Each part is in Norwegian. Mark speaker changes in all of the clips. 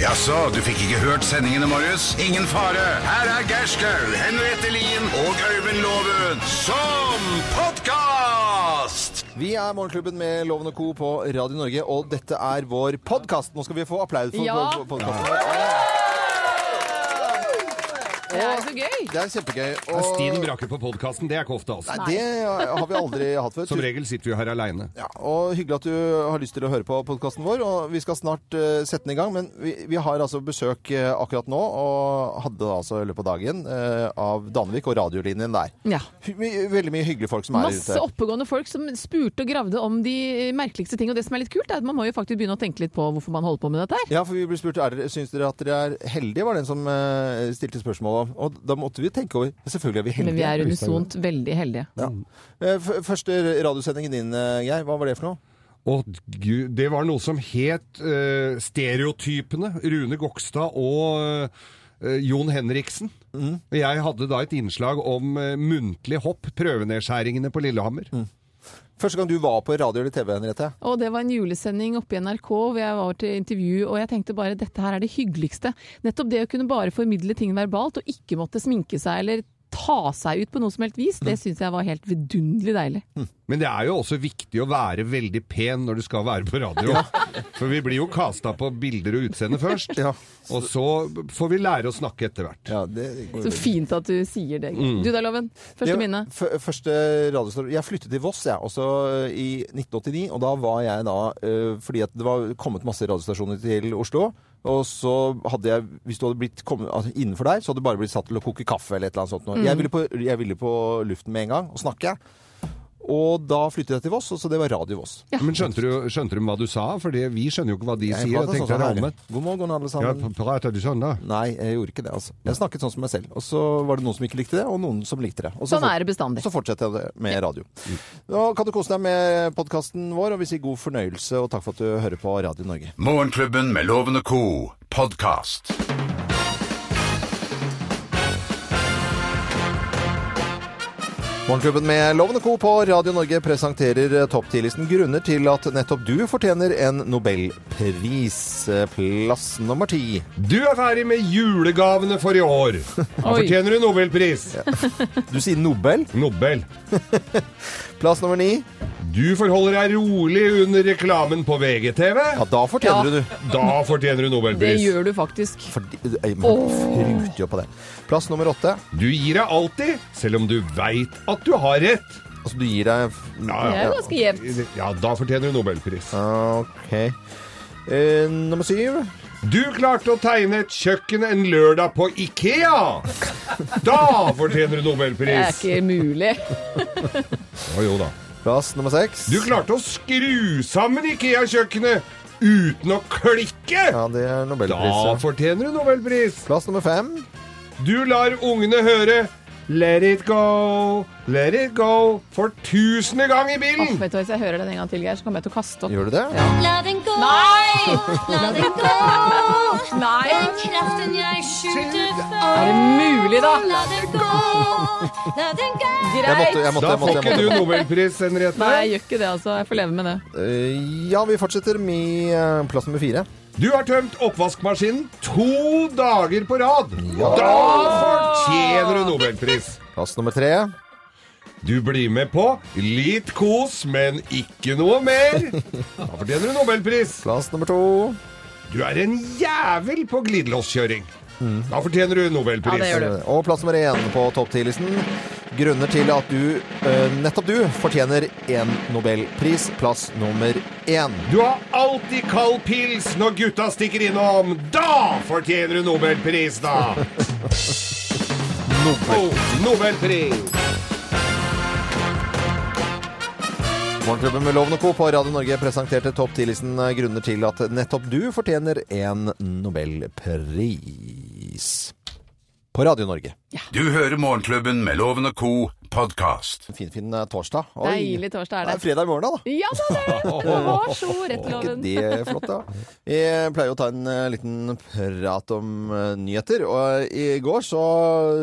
Speaker 1: Jaså, du fikk ikke hørt sendingene, Marius? Ingen fare. Her er Gerskaug, Henriette Lien og Øyvind Loven som podkast!
Speaker 2: Vi er Morgenklubben med Loven og Co. på Radio Norge, og dette er vår podkast. Nå skal vi få applaus for
Speaker 3: Ja.
Speaker 2: for- for podkasten.
Speaker 3: Det er så gøy!
Speaker 2: Det er kjempegøy.
Speaker 4: Det er
Speaker 2: Og
Speaker 4: Stine Brakke på podkasten, det er ikke ofte, altså.
Speaker 2: Nei, det har vi aldri hatt før.
Speaker 4: Som regel sitter vi her aleine.
Speaker 2: Ja, og Hyggelig at du har lyst til å høre på podkasten vår. og Vi skal snart eh, sette den i gang, men vi, vi har altså besøk eh, akkurat nå, og hadde det altså i løpet av dagen, eh, av Danvik og radiolinjen der.
Speaker 3: Ja.
Speaker 2: Hy- my- Veldig mye hyggelige folk som er
Speaker 3: Masse oppegående folk som spurte og gravde om de merkeligste ting. Og det som er litt kult, er at man må jo faktisk begynne å tenke litt på hvorfor man holder på med dette her.
Speaker 2: Ja, for vi ble spurt er dere, syns dere at dere er heldige, var den som eh, stilte spørsmål om. Og da måtte vi tenke over Selvfølgelig er vi heldige.
Speaker 3: Men vi er unisont veldig heldige.
Speaker 2: Ja.
Speaker 4: Mm.
Speaker 2: Eh, f- Første radiosendingen din, eh, Geir, hva var det for noe?
Speaker 4: Og gud, det var noe som het eh, Stereotypene. Rune Gokstad og eh, Jon Henriksen.
Speaker 2: Mm.
Speaker 4: Og Jeg hadde da et innslag om eh, muntlig hopp, prøvenedskjæringene på Lillehammer.
Speaker 2: Mm. Første gang du var på radio eller TV, Henriette?
Speaker 3: Og det var en julesending oppe i NRK hvor jeg var til intervju, og jeg tenkte bare dette her er det hyggeligste. Nettopp det å kunne bare formidle ting verbalt og ikke måtte sminke seg eller ta seg ut på noe som helst vis,
Speaker 2: Mm.
Speaker 3: det syns jeg var helt vidunderlig deilig.
Speaker 4: Men det er jo også viktig å være veldig pen når du skal være på radio. For vi blir jo kasta på bilder og utseende først.
Speaker 2: Ja.
Speaker 4: Og så får vi lære å snakke etter hvert.
Speaker 2: Ja, det går
Speaker 3: Så fint at du sier det.
Speaker 2: Mm.
Speaker 3: Du da, Loven. Første minne.
Speaker 2: F første radiostasjon Jeg flyttet til Voss, jeg, også eh, i 1989. Og da var jeg da eh, Fordi at det var kommet masse radiostasjoner til Oslo. Og så hadde jeg Hvis du hadde blitt kommet altså, innenfor der, så hadde du bare blitt satt til å koke kaffe eller et eller annet sånt. noe.
Speaker 3: Mm.
Speaker 2: Jeg, ville på, jeg ville på luften med en gang og snakke. Og da flyttet jeg til Voss, og så det var Radio Voss.
Speaker 4: Men skjønte du, skjønte du hva du sa? Fordi vi skjønner jo ikke hva de
Speaker 2: Jeg
Speaker 4: sier.
Speaker 2: pratet
Speaker 4: Jeg
Speaker 2: sånn
Speaker 4: tenkte
Speaker 2: som
Speaker 4: det
Speaker 2: dere.
Speaker 4: er omvendt.
Speaker 2: God morgen, alle
Speaker 4: Ja,
Speaker 2: sammen.
Speaker 4: prater du sånn da?
Speaker 2: Nei, jeg gjorde ikke det. altså. Jeg snakket sånn som meg selv. Og så var det noen som ikke likte det, og noen som likte det. Og så
Speaker 3: Sånn er det bestandig. Mm.
Speaker 2: Så fortsetter jeg det med radio. Nå kan du kose deg med podkasten vår, og vi sier god fornøyelse, og takk for at du hører på Radio Norge.
Speaker 1: Morgenklubben med Loven og co. podkast.
Speaker 2: Morgenklubben med Loven og Co. på Radio Norge presenterer topp 10-listen grunner til at nettopp du fortjener en nobelpris. Plass nummer ti.
Speaker 4: Du er ferdig med julegavene for i år. Da
Speaker 3: Oi.
Speaker 4: fortjener du Nobelpris.
Speaker 2: Du sier Nobel.
Speaker 4: Nobel.
Speaker 2: Plass nummer ni.
Speaker 4: Du forholder deg rolig under reklamen på VGTV.
Speaker 2: Ja, da fortjener du,
Speaker 3: Ja.
Speaker 2: du.
Speaker 4: Da fortjener du
Speaker 3: Det
Speaker 4: Nobelpris.
Speaker 3: gjør du faktisk.
Speaker 2: Fordi, jeg, men, fruter jo på det. Plass nummer åtte.
Speaker 4: Du gir deg alltid, selv om du veit at du har rett.
Speaker 2: Altså, du gir deg
Speaker 4: Ja,
Speaker 3: Det er
Speaker 4: ja.
Speaker 3: jo ganske jevnt.
Speaker 4: ja da fortjener du Nobelpris.
Speaker 2: Ok. Eh, nummer syv.
Speaker 4: Du klarte å tegne et kjøkken en lørdag på Ikea. Da fortjener du
Speaker 3: Det er
Speaker 4: Nobelpris.
Speaker 3: ikke mulig.
Speaker 4: Å, jo da.
Speaker 2: Plass nummer seks.
Speaker 4: Du klarte å skru sammen Ikea-kjøkkenet uten å klikke.
Speaker 2: Ja, det er
Speaker 4: Da
Speaker 2: Nobelpris. ja.
Speaker 4: fortjener du Nobelpris.
Speaker 2: Plass nummer fem.
Speaker 4: Du lar ungene høre Let it go, let it go for tusende gang i
Speaker 3: Åh,
Speaker 4: bilen.
Speaker 3: vet du hva, Hvis jeg hører den en gang til, Geir, så kommer jeg til å kaste opp.
Speaker 2: Gjør du det?
Speaker 3: Ja.
Speaker 5: La den gå, la den gå.
Speaker 3: Nei!
Speaker 5: Den kraften jeg skjuter
Speaker 3: Er
Speaker 5: før.
Speaker 3: det mulig, da?
Speaker 5: La den gå, la den gå.
Speaker 2: Jeg måtte,
Speaker 3: Greit.
Speaker 2: jeg måtte,
Speaker 4: Da
Speaker 2: jeg
Speaker 4: får
Speaker 2: måtte,
Speaker 4: ikke
Speaker 2: jeg
Speaker 4: du
Speaker 2: måtte.
Speaker 4: Nobelpris,
Speaker 3: Nei, jeg
Speaker 4: Henriette.
Speaker 3: gjør ikke det, altså. Jeg får leve med det.
Speaker 2: Eh, Ja, vi fortsetter med eh, plass nummer fire.
Speaker 4: Du har tømt oppvaskmaskinen to dager på rad. Da fortjener du Nobelpris.
Speaker 2: Plass nummer tre.
Speaker 4: Du blir med på litt kos, men ikke noe mer. Da fortjener du Nobelpris.
Speaker 2: Plass nummer to.
Speaker 4: Du er en jævel på glidelåskjøring.
Speaker 2: Mm.
Speaker 4: Da fortjener du Nobelpris.
Speaker 3: Ja, det gjør du.
Speaker 2: Eh, Og plass nummer én på topp ti-listen. Grunner til at du, eh, nettopp du, fortjener en nobelpris. Plass nummer én.
Speaker 4: Du har alltid kald pils når gutta stikker innom. Da fortjener du Nobelpris, da! Nobel. Nobelpris.
Speaker 2: Morgenklubben med Loven og Co. på Radio Norge presenterte topp 10-listen grunner til at nettopp du fortjener en nobelpris. På Radio Norge.
Speaker 1: Du hører Morgenklubben med Loven og Co. podkast.
Speaker 2: Fin, fin eh, torsdag. Oi.
Speaker 3: Deilig torsdag er det.
Speaker 2: fredag i morgen, da.
Speaker 3: Ja da, det! Det var så rett,
Speaker 2: Er ikke
Speaker 3: Loven.
Speaker 2: det flott, da? Jeg pleier å ta en eh, liten prat om eh, nyheter, og eh, i går så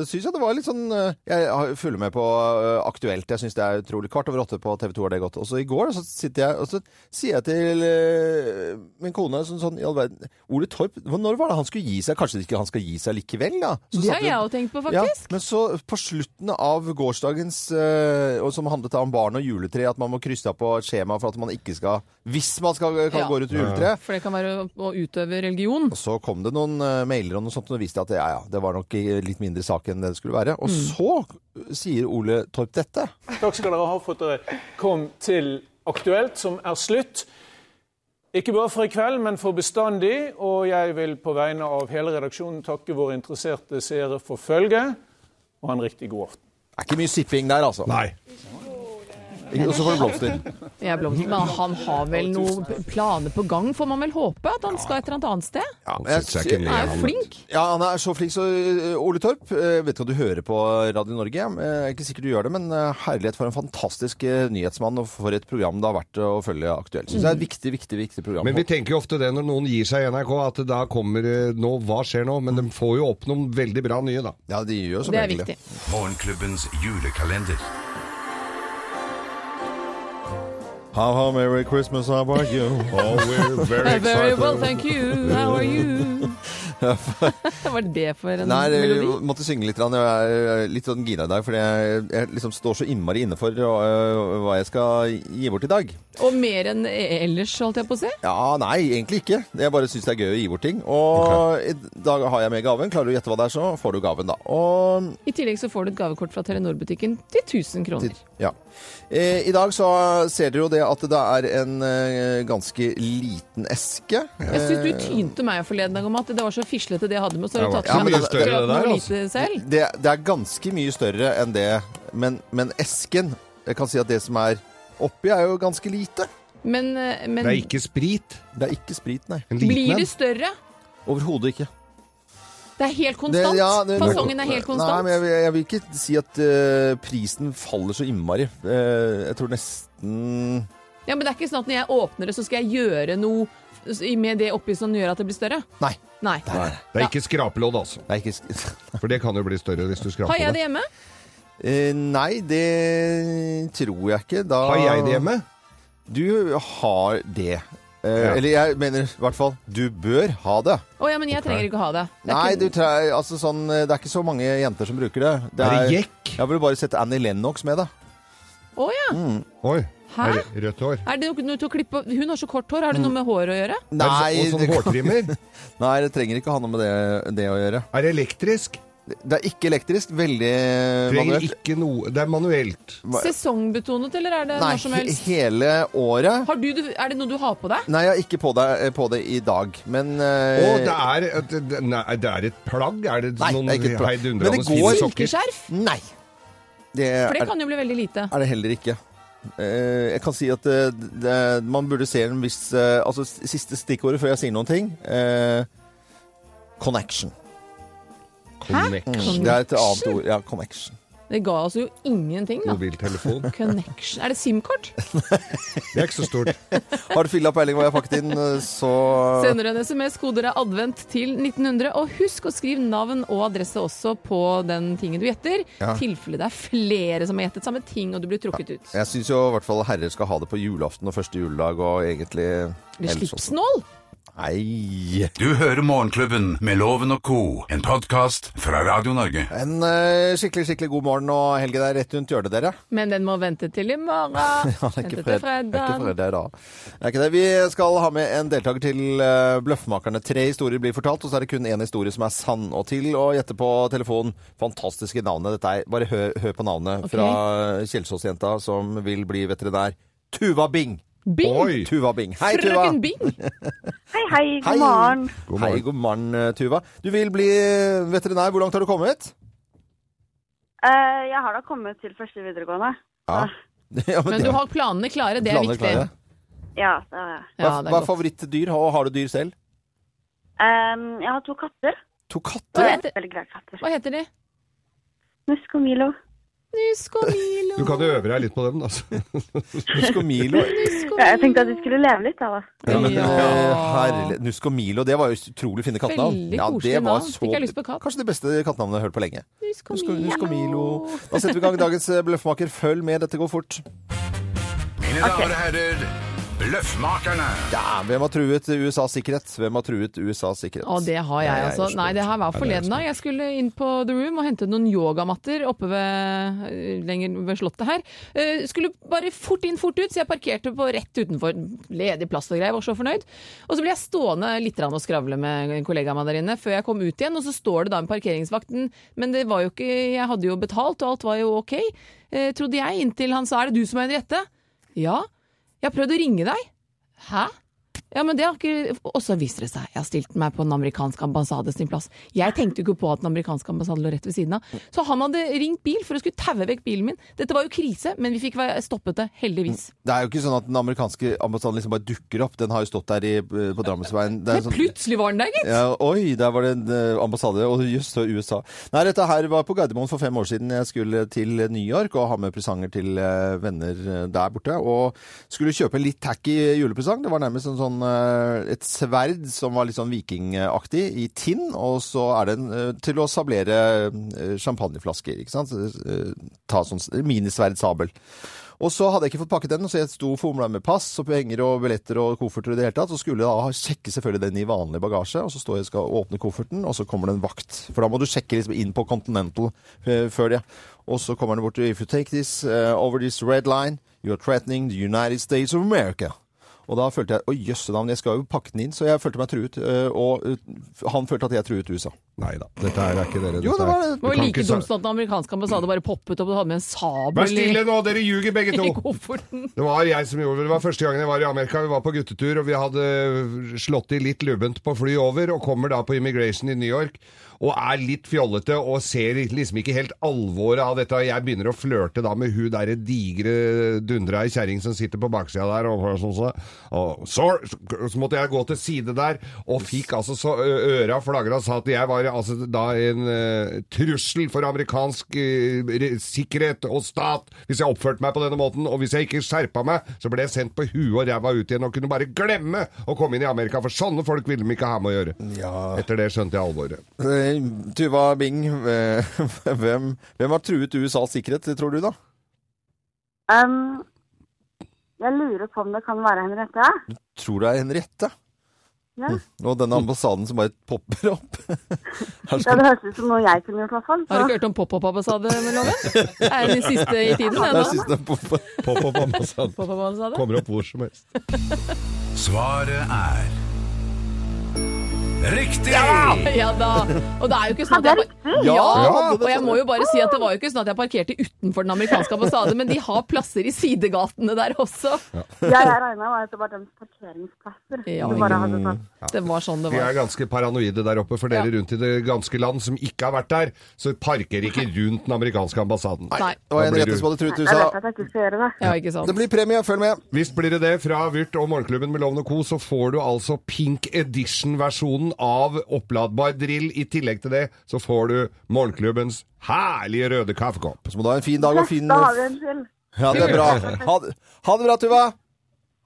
Speaker 2: syns jeg det var litt sånn eh, Jeg har- følger med på eh, Aktuelt, jeg syns det er utrolig. Kvart over åtte på TV 2 er det godt. Og så i går så sitter jeg og så sier jeg til eh, min kone sånn, sånn i all verden Ole Torp, hva- når var det han skulle gi seg? Kanskje ikke han skal gi seg likevel, da? Så
Speaker 3: Det
Speaker 2: satt
Speaker 3: har
Speaker 2: hun-
Speaker 3: jeg òg tenkt på,
Speaker 2: ja,
Speaker 3: faktisk.
Speaker 2: men så på slutten av gårsdagens, eh, og som handlet da om barn og juletre, at man må krysse av på et skjema for at man ikke skal Hvis man skal kan
Speaker 3: Ja.
Speaker 2: gå rundt juletre.
Speaker 3: For det kan være å, å utøve religion.
Speaker 2: Og så kom det noen eh, mailer og noe sånt, og det viste at ja, ja, det var nok i litt mindre sak enn det det skulle være. Og så sier Ole Torp dette.
Speaker 6: Takk skal dere ha for at dere kom til Aktuelt, som er slutt. Ikke bare for i kveld, men for bestandig. Og jeg vil på vegne av hele redaksjonen takke våre interesserte seere for følget, og ha en riktig god aften.
Speaker 2: Det er ikke mye sipping der, altså.
Speaker 4: Nei.
Speaker 2: Og så får du blomster.
Speaker 3: Jeg blomster, men han har vel noen planer på gang, får man vel håpe? At han skal et eller annet annet sted?
Speaker 2: Ja,
Speaker 4: Han sitter seg ikke ned,
Speaker 3: Han er jo
Speaker 4: han.
Speaker 3: flink.
Speaker 2: Ja, han er så flink, så eh, Ole Torp, eh, vet ikke om du hører på Radio Norge. Eh, Jeg er ikke sikkert du gjør det, men eh, herlighet for en fantastisk eh, nyhetsmann, og for et program det har vært å følge aktuelt. Synes det er et viktig, viktig, viktig program.
Speaker 4: Men vi tenker jo ofte det når noen gir seg i NRK, at det da kommer eh, nå, Hva skjer nå? Men de får jo opp noen veldig bra nye, da.
Speaker 2: Ja, de gjør som
Speaker 3: Det er
Speaker 2: regel
Speaker 3: viktig.
Speaker 1: Morgenklubbens julekalender.
Speaker 2: How, how merry Christmas, how about you? Oh, we're very
Speaker 3: Uh, Very well, thank you. How are you? Hva var det for en
Speaker 2: Nei, jeg
Speaker 3: melodi?
Speaker 2: måtte synge litt. grann. Jeg er litt sånn gira i dag, fordi jeg, jeg liksom står så innmari inne for øh, hva jeg skal gi bort i dag.
Speaker 3: Og mer enn e- ellers, holdt jeg på å si.
Speaker 2: Ja, nei, egentlig ikke. Jeg bare syns det er gøy å gi bort ting. Og i dag har jeg med gaven. Klarer du å gjette hva det er, så får du gaven, da. Og
Speaker 3: I tillegg så får du et gavekort fra Telenor-butikken til 1000 kroner.
Speaker 2: Ja. Eh, I dag så ser dere jo det at det er en eh, ganske liten eske. Eh,
Speaker 3: Jeg syns du tynte meg forleden dag om at det var så fislete det jeg hadde med, så har du
Speaker 4: Det var
Speaker 3: tatt
Speaker 2: ikke mye
Speaker 3: med
Speaker 2: større
Speaker 4: det der,
Speaker 3: noe
Speaker 4: altså.
Speaker 3: lite selv.
Speaker 2: Det, det er ganske mye større enn det, men, men esken Jeg kan si at det som er oppi, er jo ganske lite.
Speaker 3: Men, eh, men
Speaker 4: Det er ikke sprit.
Speaker 2: Det er ikke sprit, nei.
Speaker 4: En
Speaker 3: blir
Speaker 4: liten
Speaker 3: det
Speaker 4: en.
Speaker 3: større?
Speaker 2: Overhodet ikke.
Speaker 3: Det er helt
Speaker 2: Det-
Speaker 3: konstant.
Speaker 2: ja, det-
Speaker 3: Fasongen er helt
Speaker 2: Nei,
Speaker 3: konstant.
Speaker 2: men jeg, vil- jeg vil ikke si at eh, prisen faller så innmari. Eh, jeg tror nesten
Speaker 3: Ja, men det er ikke sånn at når jeg åpner det, så skal jeg gjøre noe med det oppi som gjør at det blir større.
Speaker 2: Nei.
Speaker 3: Nei.
Speaker 4: Det er ikke skrapelodd, altså.
Speaker 2: Det er ikke sk-
Speaker 4: For det kan jo bli større hvis du
Speaker 3: Har
Speaker 4: skraper
Speaker 3: jeg
Speaker 4: det.
Speaker 3: det hjemme?
Speaker 2: Eh, Nei, det tror jeg ikke. Da
Speaker 4: Har jeg det hjemme?
Speaker 2: Du har det. Eh,
Speaker 4: Ja.
Speaker 2: Eller jeg mener i hvert fall du bør ha det.
Speaker 3: Å ja, men jeg trenger ikke å ha det. Det er
Speaker 2: Nei,
Speaker 3: kun-
Speaker 2: du tre, altså sånn, eh, det er ikke så mange jenter som bruker det. Det
Speaker 4: Er det jekk?
Speaker 2: Jeg burde bare sett Annie Lennox med det.
Speaker 3: Å ja.
Speaker 4: Oi.
Speaker 3: Hæ?
Speaker 4: Mm, Er det Mm. rødt hår.
Speaker 3: Er det noe til å klippe Hun har så kort hår. Har det noe med håret å gjøre?
Speaker 2: Nei,
Speaker 4: Og sånn
Speaker 2: det,
Speaker 4: hårtrimmer.
Speaker 2: nei, det trenger ikke å ha noe med det, det å gjøre.
Speaker 4: Er det elektrisk?
Speaker 2: Det er ikke elektrisk. Veldig
Speaker 4: Trenger
Speaker 2: manuelt.
Speaker 4: ikke noe Det er manuelt.
Speaker 3: Sesongbetonet, eller er det
Speaker 2: Nei,
Speaker 3: når som
Speaker 2: he-
Speaker 3: helst?
Speaker 2: hele året.
Speaker 3: Har du, er det noe du har på deg?
Speaker 2: Nei, jeg har ikke på det, på det i dag, men
Speaker 4: Å,
Speaker 2: eh,
Speaker 4: det er, et- det- nei, det er et plagg? Er det
Speaker 2: Nei,
Speaker 4: noen
Speaker 2: det er ikke et plagg. Men
Speaker 4: heidundrende
Speaker 2: det går-
Speaker 4: fine sokker?
Speaker 3: Silkeskjerf?
Speaker 2: Nei. Det
Speaker 3: For det
Speaker 2: er,
Speaker 3: kan jo bli veldig lite.
Speaker 2: er det heller ikke. Eh, jeg kan si at eh, det, man burde se en viss eh, Altså, s- siste stikkordet før jeg sier noen ting. eh, connection.
Speaker 3: Connection?
Speaker 2: Det er et annet ord. Ja, connection.
Speaker 3: Det ga oss jo ingenting, da.
Speaker 4: Mobiltelefon.
Speaker 3: Connection Er det SIM-kort?
Speaker 4: Det er ikke så stort.
Speaker 2: Har du fylla opp Erling hva jeg har pakket inn, eh, så
Speaker 3: Sender en SMS, koder er advent til 1900. Og husk å skrive navn og adresse også på den tingen du gjetter.
Speaker 2: Ja.
Speaker 3: tilfelle det er flere som har gjettet samme ting og du blir trukket ut.
Speaker 2: Jeg syns jo i hvert fall herrer skal ha det på julaften og første juledag og egentlig
Speaker 3: Eller
Speaker 2: ellers også.
Speaker 3: slipsnål!
Speaker 2: Nei.
Speaker 1: Du hører Morgenklubben med Loven og Co., en podkast fra Radio Norge.
Speaker 2: En eh, skikkelig, skikkelig god morgen og helgen er rett rundt hjørnet, dere.
Speaker 3: Men den må vente til i morgen.
Speaker 2: Ja, det er ikke
Speaker 3: Vente til
Speaker 2: fred- det er ikke
Speaker 3: fredag.
Speaker 2: fredag da. Det er ikke det. Vi skal ha med en deltaker til eh, Bløffmakerne. Tre historier blir fortalt, og så er det kun én historie som er sann. Og til å gjette på telefonen fantastiske navnet dette er. Bare hør, hør på navnet
Speaker 3: Ok.
Speaker 2: fra Kjelsåsjenta som vil bli veterinær. Tuva Bing!
Speaker 3: Bing!
Speaker 4: Oi!
Speaker 2: Tuva Bing. Hei, Tuva!
Speaker 3: Frøken Bing!
Speaker 7: Hei, hei. God
Speaker 2: Hei.
Speaker 7: morgen.
Speaker 4: God
Speaker 2: Hei,
Speaker 4: morgen.
Speaker 2: god morgen, eh, Tuva. Du vil bli eh, veterinær. Hvor langt har du kommet?
Speaker 7: Eh, jeg har da kommet til første videregående.
Speaker 2: Ja. ja men,
Speaker 3: Men du har planene klare, det er
Speaker 2: Planene
Speaker 3: viktig.
Speaker 2: klare.
Speaker 7: Ja, det har jeg.
Speaker 2: Hva,
Speaker 3: Ja, det
Speaker 2: hva
Speaker 3: er
Speaker 2: er
Speaker 3: godt.
Speaker 2: favorittdyr? Og har du dyr selv?
Speaker 7: Ehm, jeg har to katter.
Speaker 2: To katter?
Speaker 3: Hva heter,
Speaker 7: Veldig glad i katter.
Speaker 3: hva heter de?
Speaker 7: Nusk og Milo.
Speaker 3: Nusk og Milo,
Speaker 4: Du kan jo øve deg litt på den, altså.
Speaker 2: Nusk og Milo.
Speaker 3: nusk og
Speaker 7: Ja, jeg tenkte at de
Speaker 3: Milo.
Speaker 7: skulle leve litt, da. da.
Speaker 2: Ja, men,
Speaker 3: Ja.
Speaker 2: eh, herlig. Nusk og Milo, det var jo utrolig fine kattenavn.
Speaker 3: Veldig
Speaker 2: Ja,
Speaker 3: koselig
Speaker 2: det var
Speaker 3: navn.
Speaker 2: så-
Speaker 3: Fikk jeg lyst på katt.
Speaker 2: Kanskje det beste kattenavnet jeg har hørt på lenge.
Speaker 3: Nusk og
Speaker 2: Nusk og- Nusk og Milo.
Speaker 3: Milo.
Speaker 2: Da setter vi i gang dagens eh, bløffmaker. Følg med, dette går fort.
Speaker 1: Mine damer og herrer, Bløffmakerne.
Speaker 2: Ja, hvem har truet USAs sikkerhet? Hvem har truet USAs sikkerhet?
Speaker 3: Å, det har
Speaker 2: Ja,
Speaker 3: jeg,
Speaker 2: jeg er
Speaker 3: altså.
Speaker 2: spent.
Speaker 3: Nei, det her var
Speaker 4: Ja, det er jeg
Speaker 3: forleden dag. Jeg skulle inn på The Room og hente noen yogamatter oppe ved, eh, lenger ved slottet her. Eh, Skulle bare fort inn, fort ut, så jeg parkerte på rett utenfor ledig plass og greier. Var så fornøyd. Og så ble jeg stående litt grann og skravle med en kollega av meg der inne før jeg kom ut igjen, og så står det da en parkeringsvakten, men det var jo ikke Jeg hadde jo betalt, og alt var jo ok, eh, trodde jeg, inntil han sa 'er det du som er Henriette'? Ja. Jeg har prøvd å ringe deg. Hæ? Ja, men det har ikke Og så viser det seg. Jeg har stilt meg på den amerikanske ambassade sin plass. Jeg tenkte jo ikke på at den amerikanske ambassaden lå rett ved siden av. Så han hadde ringt bil for å skulle taue vekk bilen min. Dette var jo krise, men vi fikk være- stoppet det, heldigvis.
Speaker 4: Mm.
Speaker 2: Det er jo ikke sånn at den amerikanske ambassaden liksom bare dukker opp. Den har jo stått der i, eh, på Drammensveien. Det er
Speaker 3: Men
Speaker 4: Altså,
Speaker 2: en sånn-
Speaker 3: plutselig var den der, gitt!
Speaker 2: Ja, oi, der var det en eh, ambassade, og just så USA. Nei, dette her var på Gardermoen for fem år siden. Jeg skulle til New York og ha med presanger til eh, venner eh, der borte. Og skulle kjøpe en litt tacky julepresang. Det var nærmest en sånn, eh, et sverd som var litt sånn vikingaktig i tinn, og så er det en, eh, til å sablere eh, champagneflasker, ikke sant? Eh, Ta sånn s- minisverdsabel. Og så hadde jeg ikke fått pakket den, så jeg sto og fomla med pass og penger og billetter og kofferter i det hele tatt. Så skulle jeg da ha- sjekke selvfølgelig den i vanlig bagasje, og så står jeg og skal åpne kofferten, og så kommer det en vakt. For da må du sjekke liksom inn på Continental eh, før det. Og så kommer den bort til If you take this eh, over this red line, you are threatening the United States of America. Og da følte jeg Å, jøsse navn, jeg skal jo pakke den inn. Så jeg følte meg truet. eh, Og eh, han følte at jeg truet USA.
Speaker 4: Nei da, dette her er ikke dere.
Speaker 2: Jo,
Speaker 4: dette
Speaker 2: det
Speaker 4: er-
Speaker 2: var det.
Speaker 4: Du
Speaker 3: Det var
Speaker 4: kan
Speaker 3: jo like
Speaker 4: ikke sa-
Speaker 3: dumt som at den amerikanske ambassaden bare poppet opp og hadde med en
Speaker 4: Vær
Speaker 3: sabel i,
Speaker 4: stille nå, dere ljuger begge
Speaker 3: i
Speaker 4: to!
Speaker 3: kofferten.
Speaker 4: Det var jeg som gjorde det. Det var første gangen jeg var i Amerika. Vi var på guttetur, og vi hadde slått i litt lubbent på fly over, og kommer da på Immigration i New York, og er litt fjollete, og ser liksom ikke helt alvoret av dette. Jeg begynner å flørte da med hun derre digre dundra ei kjerring som sitter på baksida der, og sånn så, og så, så måtte jeg gå til side der, og fikk altså så ø, øra flagra og sa at jeg var altså da en eh, trussel for amerikansk eh, re- sikkerhet og stat hvis jeg oppførte meg på denne måten, og hvis jeg ikke skjerpa meg, så ble jeg sendt på huet og ræva ut igjen og kunne bare glemme å komme inn i Amerika, for sånne folk ville de ikke ha med å gjøre. Etter det skjønte jeg alvoret.
Speaker 2: Eh, Tuva Bing, eh, hvem, hvem har truet USAs sikkerhet, tror du da?
Speaker 7: Um, jeg lurer på om det kan være Henriette. ja?
Speaker 2: Tror du det er Henriette?
Speaker 7: Ja.
Speaker 2: Og
Speaker 4: Mm.
Speaker 2: denne ambassaden som bare popper opp. Her
Speaker 7: Ja,
Speaker 2: skal,
Speaker 7: det høres ut som noe jeg kunne gjort, i hvert fall.
Speaker 3: Har du
Speaker 7: Så.
Speaker 3: ikke hørt om pop-opp-ambassade, Loven? Er det den siste i tiden?
Speaker 2: der
Speaker 3: Den,
Speaker 2: synes den popper.
Speaker 4: På, på, på, på,
Speaker 3: Pop-opp-ambassade?
Speaker 4: kommer opp hvor som helst.
Speaker 1: Svaret er Riktig!
Speaker 3: Ja da. Og det er jo ikke sånn at jeg
Speaker 7: Ja,
Speaker 3: bare
Speaker 7: det er
Speaker 3: ja, og jeg må jo bare si at det var jo ikke sånn at jeg parkerte utenfor den amerikanske ambassaden, men de har plasser i sidegatene der også.
Speaker 7: Ja, jeg regna med at det var deres parkeringsplasser.
Speaker 3: Ja.
Speaker 7: Du bare hadde tatt.
Speaker 3: Det var sånn det
Speaker 4: Vi er
Speaker 3: var.
Speaker 4: ganske paranoide der oppe, for dere rundt i det ganske land som ikke har vært der, så parker ikke rundt den amerikanske ambassaden.
Speaker 3: Nei.
Speaker 2: Det var
Speaker 4: Da blir
Speaker 2: Henriette
Speaker 4: du-
Speaker 2: som hadde truet
Speaker 7: Jeg vet
Speaker 2: USA.
Speaker 7: at jeg ikke skal gjøre det.
Speaker 3: Ja, ikke sant.
Speaker 2: Det blir premie, følg med!
Speaker 4: Visst blir det det. Fra Vyrt og Morgenklubben med Loven og Co. så får du altså Pink Edition-versjonen av oppladbar drill. I tillegg til det så får du Morgenklubbens herlige røde kaffekopp.
Speaker 2: Så må du ha en fin dag og fin
Speaker 7: Da har vi en til.
Speaker 2: Ja, det er bra. Ha, det- ha det bra, Tuva!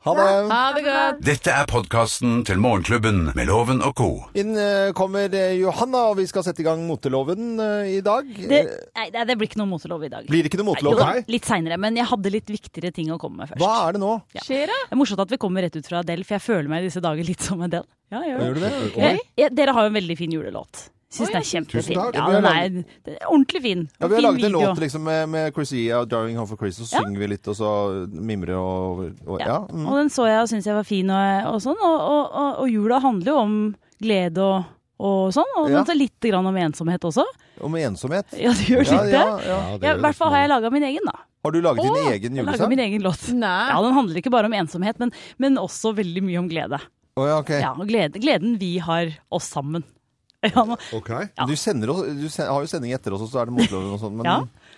Speaker 2: Ha det.
Speaker 3: Ha det godt.
Speaker 1: Dette er podkasten til Morgenklubben med Loven og co.
Speaker 2: Inn eh, kommer eh, Johanna, og vi skal sette i gang moteloven eh, i dag.
Speaker 8: Det,
Speaker 2: Eh,
Speaker 8: nei, det det blir ikke noe motelov i dag.
Speaker 2: Blir det ikke noe
Speaker 8: Jo
Speaker 2: motelov?
Speaker 8: da,
Speaker 4: Nei.
Speaker 8: litt seinere, men jeg hadde litt viktigere ting å komme med først.
Speaker 2: Hva er det nå?
Speaker 3: Skjer det?
Speaker 8: Det er morsomt at vi kommer rett ut fra Adele, for jeg føler meg i disse dager litt som Adele. Ja, jeg gjør det.
Speaker 2: Gjør du det?
Speaker 8: Jeg, jeg, dere har jo en veldig fin julelåt. Syns den er kjempefin.
Speaker 4: Tusen takk.
Speaker 8: Ja,
Speaker 2: Vi har
Speaker 8: den er, den er ordentlig fin.
Speaker 2: Ja, Vi har
Speaker 8: Fin
Speaker 2: laget en
Speaker 8: video.
Speaker 2: låt liksom, med, med Chrissia og 'Driving Home for Christmas'. Så
Speaker 8: Ja.
Speaker 2: synger vi litt, og så mimrer og, og ja. mm.
Speaker 8: Og den så jeg og syntes jeg var fin og, og sånn. Og, og, og, og jula handler jo om glede og, og sånn, og
Speaker 2: Ja.
Speaker 8: den tar litt grann om ensomhet også.
Speaker 2: Og med ensomhet.
Speaker 8: Ja, det gjør
Speaker 2: Ja,
Speaker 8: litt det.
Speaker 2: ja, ja.
Speaker 8: Ja, I hvert fall har jeg laga min egen, da.
Speaker 2: Har du laget din egen
Speaker 8: Jeg laget
Speaker 2: julesang?
Speaker 8: min egen låt.
Speaker 3: Nei.
Speaker 8: Ja, Den handler ikke bare om ensomhet, men, men også veldig mye om glede.
Speaker 2: Å, ja, ok.
Speaker 8: Ja, og glede, Gleden vi har oss sammen. Ja, nå,
Speaker 4: Ok.
Speaker 2: Du, sender oss, du sen- har jo sending etter oss, og så er det motloven og sånn. Men,
Speaker 8: ja,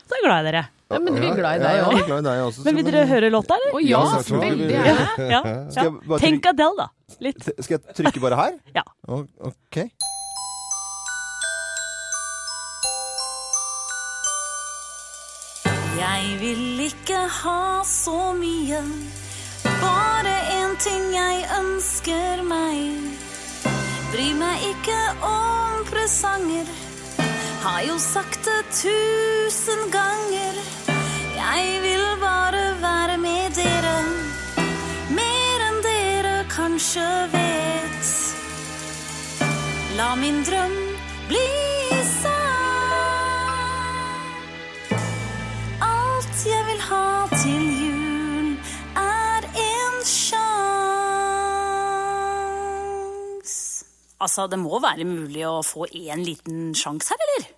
Speaker 8: så er jeg glad i dere.
Speaker 3: Ja, men vi er glad i
Speaker 2: Ja,
Speaker 3: deg
Speaker 2: ja,
Speaker 3: òg.
Speaker 2: jeg er glad i deg også.
Speaker 8: Men vil dere høre låta, eller?
Speaker 3: Å ja,
Speaker 2: Ja, så tror jeg vi-
Speaker 3: veldig gjerne.
Speaker 8: Ja.
Speaker 2: Skal
Speaker 8: ja.
Speaker 2: jeg bare
Speaker 8: Tenk
Speaker 2: trykke,
Speaker 8: Adele, da. Litt.
Speaker 2: skal jeg trykke bare her?
Speaker 8: Ja.
Speaker 2: O- Ok.
Speaker 5: Jeg vil ikke ha så mye. Bare én ting jeg ønsker meg. Bry meg ikke om presanger. Har jo sagt det tusen ganger. Jeg vil bare være med dere. Mer enn dere kanskje vet. La min drøm bli sann. Alt jeg vil ha til jul, er en sjans. Altså, det må være mulig å få én liten sjans her, eller?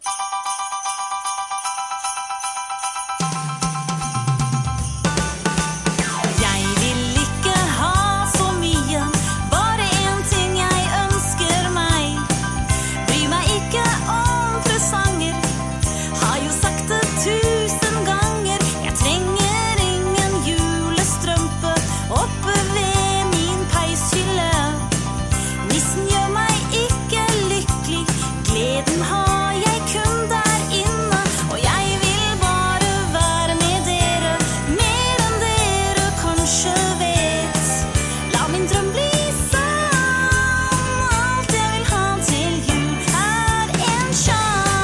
Speaker 5: Jeg vil ikke ha så mye, bare én ting jeg ønsker meg. Bry meg ikke om presanger, har jo sagt det tusen ganger. Jeg trenger ingen julestrømpe oppe ved min peishylle. Nissen gjør meg ikke lykkelig. Gleden har jeg kun der inne. Og jeg vil bare være med dere, mer enn dere kanskje vet. La min drøm bli sann. Alt jeg vil ha til jul, er en sjans.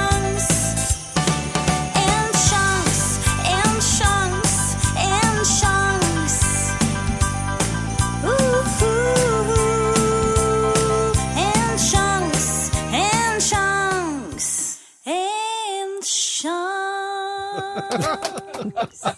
Speaker 5: En sjans, en sjans, en sjans. Uhu, En sjans, en sjans, en sjans.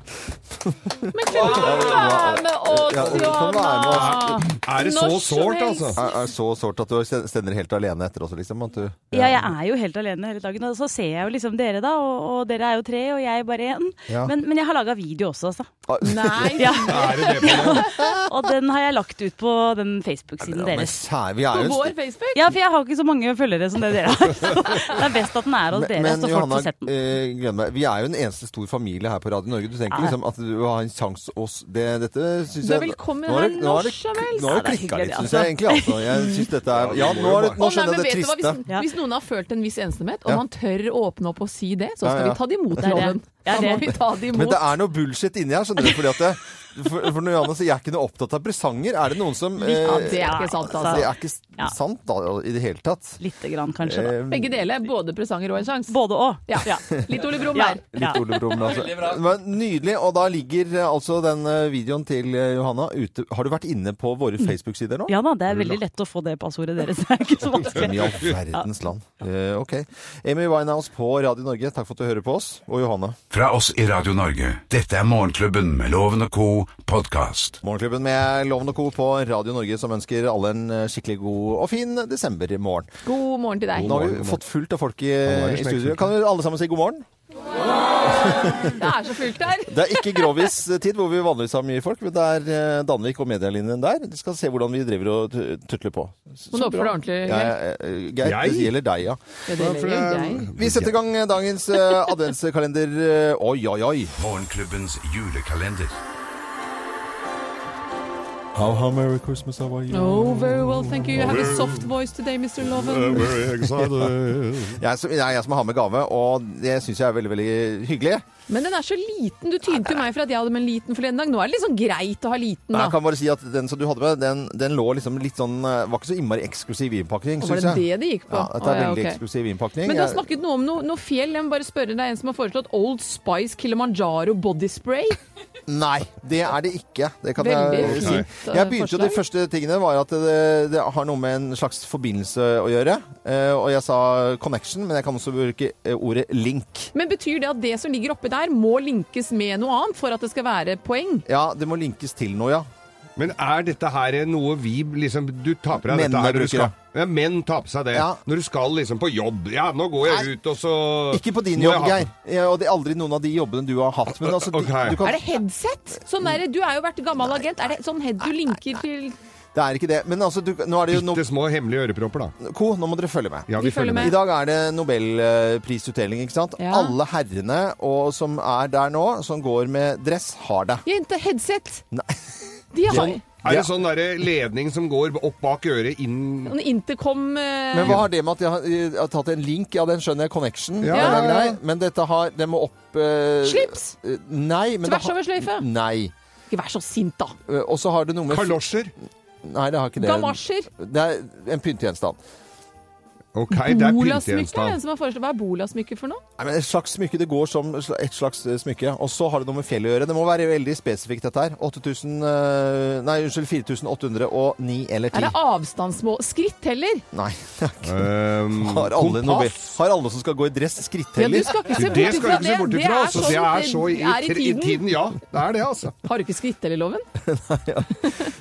Speaker 3: Men kan du være med
Speaker 2: Ja,
Speaker 3: oss,
Speaker 2: du kan være med
Speaker 3: Johanna?
Speaker 4: Er det så
Speaker 3: Når som
Speaker 4: sårt,
Speaker 3: helst.
Speaker 4: altså?
Speaker 2: Er, er så sårt at du sender helt alene etter også, liksom? At du,
Speaker 8: Ja, jeg er jo helt alene hele dagen, og så ser jeg jo liksom dere, da. Og, og dere er jo tre, og jeg er bare én.
Speaker 2: Ja.
Speaker 8: Men, men jeg har laga video også, altså.
Speaker 3: Nei,
Speaker 8: Ja.
Speaker 4: Er det det på det?
Speaker 8: Og den har jeg lagt ut på den Facebook-siden
Speaker 2: Men
Speaker 8: deres.
Speaker 2: kjære, vi er
Speaker 3: på
Speaker 2: jo en
Speaker 3: vår Facebook?
Speaker 8: Ja, for jeg har ikke så mange følgere som det dere har. Så det er best at den er hos dere,
Speaker 2: Men
Speaker 8: så folk
Speaker 2: Johanna,
Speaker 8: får sett den.
Speaker 2: eh, gleder meg. vi er jo en eneste stor familie her på Radio Norge. Du tenker
Speaker 8: Ja.
Speaker 2: liksom at du har en sjanse oss det, Dette syns
Speaker 3: Du
Speaker 2: jeg
Speaker 3: er velkommen
Speaker 2: Nå har det-
Speaker 3: her
Speaker 2: nå har
Speaker 3: når
Speaker 2: det-
Speaker 3: som helst.
Speaker 2: Nå har
Speaker 8: Ja, det
Speaker 2: det
Speaker 8: er
Speaker 2: klikka
Speaker 8: hyggelig,
Speaker 2: litt, syns
Speaker 8: altså.
Speaker 2: jeg egentlig. Altså. Jeg synes dette er Ja, nå, er det, nå
Speaker 3: Å, nei,
Speaker 2: skjedde
Speaker 3: men
Speaker 2: det
Speaker 3: vet du hva?
Speaker 2: triste.
Speaker 3: Hvis,
Speaker 8: Ja.
Speaker 3: hvis noen har følt en viss ensomhet, og
Speaker 2: Ja.
Speaker 3: man tør å åpne opp og si det, så
Speaker 2: Ja,
Speaker 3: skal
Speaker 2: ja.
Speaker 3: vi ta det imot,
Speaker 8: er det.
Speaker 3: loven.
Speaker 8: Det
Speaker 3: Da
Speaker 8: er
Speaker 3: må
Speaker 8: det.
Speaker 3: vi ta det
Speaker 2: Men
Speaker 3: imot.
Speaker 2: det er noe bullshit inni her, skjønner du. Fordi at det, for, for når Johanna sier 'jeg er ikke noe opptatt av presanger', er det noen som eh,
Speaker 3: Ja, det er ikke sant,
Speaker 2: det
Speaker 3: altså.
Speaker 2: er ikke s-
Speaker 8: Ja.
Speaker 2: sant da, i det hele tatt.
Speaker 8: Lite grann, kanskje. da.
Speaker 2: Eh,
Speaker 3: Begge deler. Både presanger og en sjanse.
Speaker 8: Både òg.
Speaker 3: Ja. Litt Ole Brumm
Speaker 8: Ja.
Speaker 3: her.
Speaker 8: Ja.
Speaker 2: Litt Ole Brumm, altså. Men nydelig. Og da ligger eh, altså den eh, videoen til eh, Johanna ute. Har du vært inne på
Speaker 3: Mm.
Speaker 2: våre Facebook-sider nå?
Speaker 8: ja da, det er veldig lett å få det passordet deres. Det er ikke så
Speaker 2: Men i
Speaker 8: vanskelig.
Speaker 2: all verdens land. Eh, ok. Amy Winehouse på Radio Norge, takk for at du hører på oss. Og Johanne.
Speaker 1: Fra oss i Radio Norge. Dette er Morgenklubben med Loven og co. podkast.
Speaker 2: Morgenklubben med Loven og Co. på Radio Norge, som ønsker alle en eh, skikkelig god og fin desembermorgen.
Speaker 3: God morgen til
Speaker 2: Nå
Speaker 3: deg.
Speaker 2: har vi fått fullt av folk i,
Speaker 4: nå er det
Speaker 2: i
Speaker 4: slekt
Speaker 2: studio.
Speaker 4: fullt.
Speaker 2: Kan vi alle sammen si god morgen?
Speaker 3: Det er så fullt her.
Speaker 2: Det er ikke grovis-tid, hvor vi vanligvis har mye folk, men det er eh, Danvik og medielinjen der. Vi skal se hvordan vi driver og tu- tutler på.
Speaker 3: Må du håpe for det ordentlig,
Speaker 2: Ja,
Speaker 3: Geir.
Speaker 2: ja, ja, Geir,
Speaker 4: Jeg?
Speaker 2: det gjelder deg, ja.
Speaker 3: Ja, det
Speaker 4: for
Speaker 3: gjelder
Speaker 4: det er-
Speaker 3: Geir.
Speaker 2: Vi setter i gang eh, dagens eh, adventskalender. eh, Oi, oi, oi.
Speaker 1: Morgenklubbens julekalender.
Speaker 2: How, how merry Christmas, how are you?
Speaker 3: Oh, very well, thank you. You have a soft voice today, Mr. Loven.
Speaker 2: Jeg, som, det er jeg som har med gave, og det syns jeg er veldig veldig hyggelig.
Speaker 3: Men den er så liten. Du tynte jo meg for at jeg hadde med en liten forleden dag. Nå er det liksom greit å ha liten,
Speaker 2: Men jeg
Speaker 3: da.
Speaker 2: kan bare si at Den som du hadde med, den, den lå liksom litt sånn eh, Var ikke så innmari eksklusiv innpakning,
Speaker 3: Og
Speaker 2: syns
Speaker 3: var det
Speaker 2: jeg.
Speaker 3: det det gikk på?
Speaker 2: Ja, dette
Speaker 3: Å,
Speaker 2: er
Speaker 3: ja,
Speaker 2: veldig
Speaker 3: ok.
Speaker 2: eksklusiv innpakning.
Speaker 3: Men du har
Speaker 2: Jeg-
Speaker 3: snakket noe om noe, noe fjell. Jeg må bare spørre deg en som har foreslått Old Spice Kilimanjaro Body Spray.
Speaker 2: Nei, det er det ikke. Det kan
Speaker 3: Veldig
Speaker 2: jeg si.
Speaker 3: fint eh,
Speaker 2: Jeg begynte jo De
Speaker 3: forslag.
Speaker 2: første tingene var at det, det har noe med en slags forbindelse å gjøre. Eh, Og jeg sa connection, men jeg kan også bruke eh, ordet link.
Speaker 3: Men betyr det at det som ligger oppi der, må linkes med noe annet for at det skal være poeng?
Speaker 2: Ja, det må linkes til noe, ja.
Speaker 4: Men er dette her noe vi liksom Du tar på deg dette
Speaker 2: Mennene
Speaker 4: her når du
Speaker 2: bruker
Speaker 4: skal ja, Menn tar på seg det
Speaker 2: Ja.
Speaker 4: når du skal liksom på jobb. Ja, nå går jeg ut, og så
Speaker 2: Ikke på din
Speaker 4: Må jeg
Speaker 2: jobb,
Speaker 4: ha-
Speaker 2: Geir. Ja, Og det er aldri noen av de jobbene du har hatt. Men altså, de-
Speaker 4: Ok.
Speaker 2: du kan
Speaker 3: Er det headset? Sånn der, du er jo vært gammel agent. Er det sånn head du linker til
Speaker 2: Det er ikke det. Men altså, du, nå er det jo no
Speaker 4: Bitte små hemmelige ørepropper, da.
Speaker 2: Ko, nå må dere følge med.
Speaker 4: Ja,
Speaker 3: Vi følger med.
Speaker 2: I dag er det nobelprisutdeling, ikke sant?
Speaker 3: Ja.
Speaker 2: Alle herrene og, som er der nå, som går med dress, har det.
Speaker 3: Jente, headset!
Speaker 2: Nei.
Speaker 3: De har
Speaker 2: Sånn
Speaker 4: Er det sånn derre ledning som går opp bak øret inn
Speaker 3: En intercom eh,
Speaker 2: Men hva har det med at jeg har, jeg har tatt en link? Ja, den skjønner jeg. Connection.
Speaker 4: Ja.
Speaker 2: Den er grei. Men dette har Den må opp eh,
Speaker 3: Slips!
Speaker 2: eh, Nei. Men det
Speaker 3: Tvers
Speaker 2: har-
Speaker 3: over sløyfe?
Speaker 2: Nei.
Speaker 3: Ikke vær så sint, da!
Speaker 2: Eh, Og så har det noe med
Speaker 4: Kalosjer!
Speaker 2: Nei, det har ikke det.
Speaker 3: Gamasjer!
Speaker 2: Det er en pyntegjenstand.
Speaker 4: OK, det er
Speaker 3: Bolasmykke er det
Speaker 4: pyntegjenstand.
Speaker 3: som har foreslått. Hva er bolasmykke for noe?
Speaker 2: Nei, men Et slags smykke. Det går som sl- et slags eh, smykke. Og så har det noe med fjell å gjøre. Det må være veldig spesifikt, dette her. 8000 eh, Nei, unnskyld. 4809 eller
Speaker 3: Er
Speaker 2: 10.
Speaker 3: det avstandsmål? Skritt heller!
Speaker 2: Nei. det er ikke-
Speaker 4: Um,
Speaker 2: Har alle, noe,
Speaker 4: kompass.
Speaker 2: har alle som skal gå i dress,
Speaker 3: Ja, du
Speaker 2: skritteller?
Speaker 3: skal ikke se bort
Speaker 4: Det skal
Speaker 3: ifra
Speaker 4: du ikke
Speaker 3: det.
Speaker 4: se bort
Speaker 3: Det
Speaker 4: ifra.
Speaker 3: er
Speaker 4: altså.
Speaker 3: sånn
Speaker 4: Det er så i,
Speaker 3: det er i
Speaker 4: i
Speaker 3: tiden.
Speaker 4: tiden, ja. Det er det, altså.
Speaker 3: Har du ikke skrittellerloven?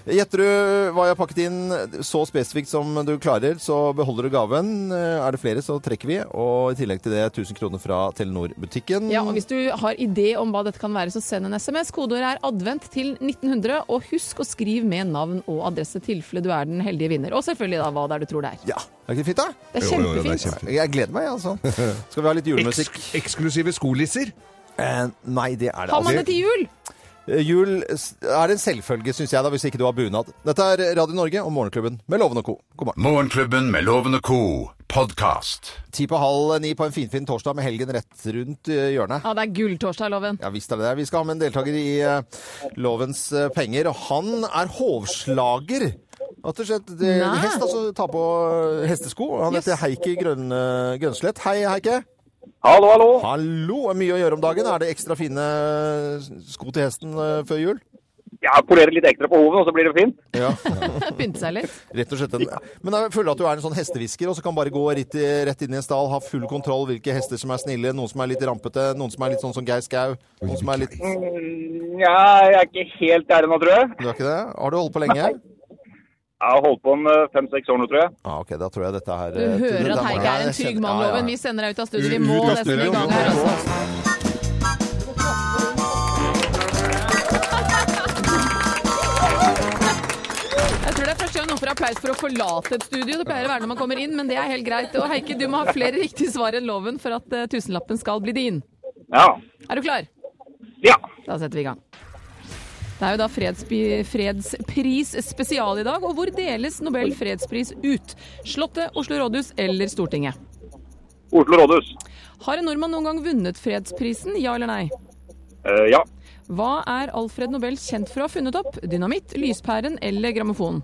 Speaker 2: Gjetter du hva jeg har pakket inn så spesifikt som du klarer, så beholder du gaven. Eh, Er det flere, så trekker vi. Og i tillegg til det 1000 kroner fra Telenor-butikken.
Speaker 3: Ja, og Hvis du har idé om hva dette kan være, så send en SMS. Kodeordet er 'advent' til 1900. Og husk å skrive med navn og adresse tilfelle du er den heldige vinner. Og selvfølgelig da hva det er du tror det er.
Speaker 2: Ja, Er ikke det fint, da?
Speaker 3: Det er
Speaker 4: Jo, jo, jo, det er
Speaker 3: kjempefint.
Speaker 4: kjempe-
Speaker 2: Jeg gleder meg, altså. Skal vi ha litt julemusikk?
Speaker 4: Eks eksklusive skolisser.
Speaker 2: Eh, nei, det er det
Speaker 3: Har
Speaker 2: altså.
Speaker 3: man det til jul?
Speaker 2: Eh, Jul s- er det en selvfølge, syns jeg, da, hvis ikke du har bunad. Dette er Radio Norge og Morgenklubben med Loven og Co. God morgen.
Speaker 1: Morgenklubben med Loven og Co. Podcast.
Speaker 2: Ti på halv ni på en finfin torsdag med helgen rett rundt eh, hjørnet.
Speaker 3: Ja, det er gulltorsdag, Loven.
Speaker 2: Ja, visst er det det. Vi skal ha med en deltaker i eh, Lovens eh, penger. og Han er hovslager. Rett og slett det,
Speaker 3: Nei.
Speaker 2: hest, altså. Ta på eh, hestesko. Han
Speaker 3: Yes.
Speaker 2: heter Heikki Grønn, eh, Grønslett. Hei, Heikki.
Speaker 9: Hallo, hallo.
Speaker 2: Hallo. er Mye å gjøre om dagen. Er det ekstra fine sko til hesten eh, før jul?
Speaker 9: Jeg polerer litt ekstra på hoven, og så blir det fint.
Speaker 2: Ja,
Speaker 3: Pynte seg litt.
Speaker 2: rett og slett. En, men jeg føler at du er en sånn hestehvisker og så kan bare gå rett, i- rett inn i en stall, ha full kontroll hvilke hester som er snille, noen som er litt rampete, noen som er litt sånn som Geir Skau, noen som er litt
Speaker 9: Mm, ja, jeg er ikke helt der ennå, tror jeg.
Speaker 2: Du er ikke det? Har du holdt på lenge?
Speaker 9: Jeg har holdt på med fem-seks år nå, tror jeg.
Speaker 2: Ja, ok, da tror jeg dette her eh,
Speaker 3: Du hører at Heike er en trygg mann, Loven. Vi
Speaker 2: Vi
Speaker 3: sender deg ut av studio. Vi
Speaker 4: Ut-
Speaker 3: må
Speaker 4: ut av
Speaker 3: nesten i
Speaker 4: studio.
Speaker 3: gang her. altså. Jeg tror det er første gang noen får applaus for å forlate et studio. Det pleier å være når man kommer inn, men det er helt greit. Og Heike, du må ha flere riktige svar enn loven for at eh, tusenlappen skal bli din.
Speaker 9: Ja.
Speaker 3: Er du klar?
Speaker 9: Ja.
Speaker 3: Da setter vi i gang. Det er jo da fredspi- fredspris spesial i dag, og hvor deles Nobel fredspris ut? Slottet, Oslo rådhus eller Stortinget?
Speaker 9: Oslo rådhus.
Speaker 3: Har en nordmann noen gang vunnet fredsprisen, ja eller nei?
Speaker 9: Eh, ja.
Speaker 3: Hva er Alfred Nobel kjent for å ha funnet opp? Dynamitt, lyspæren eller grammofon?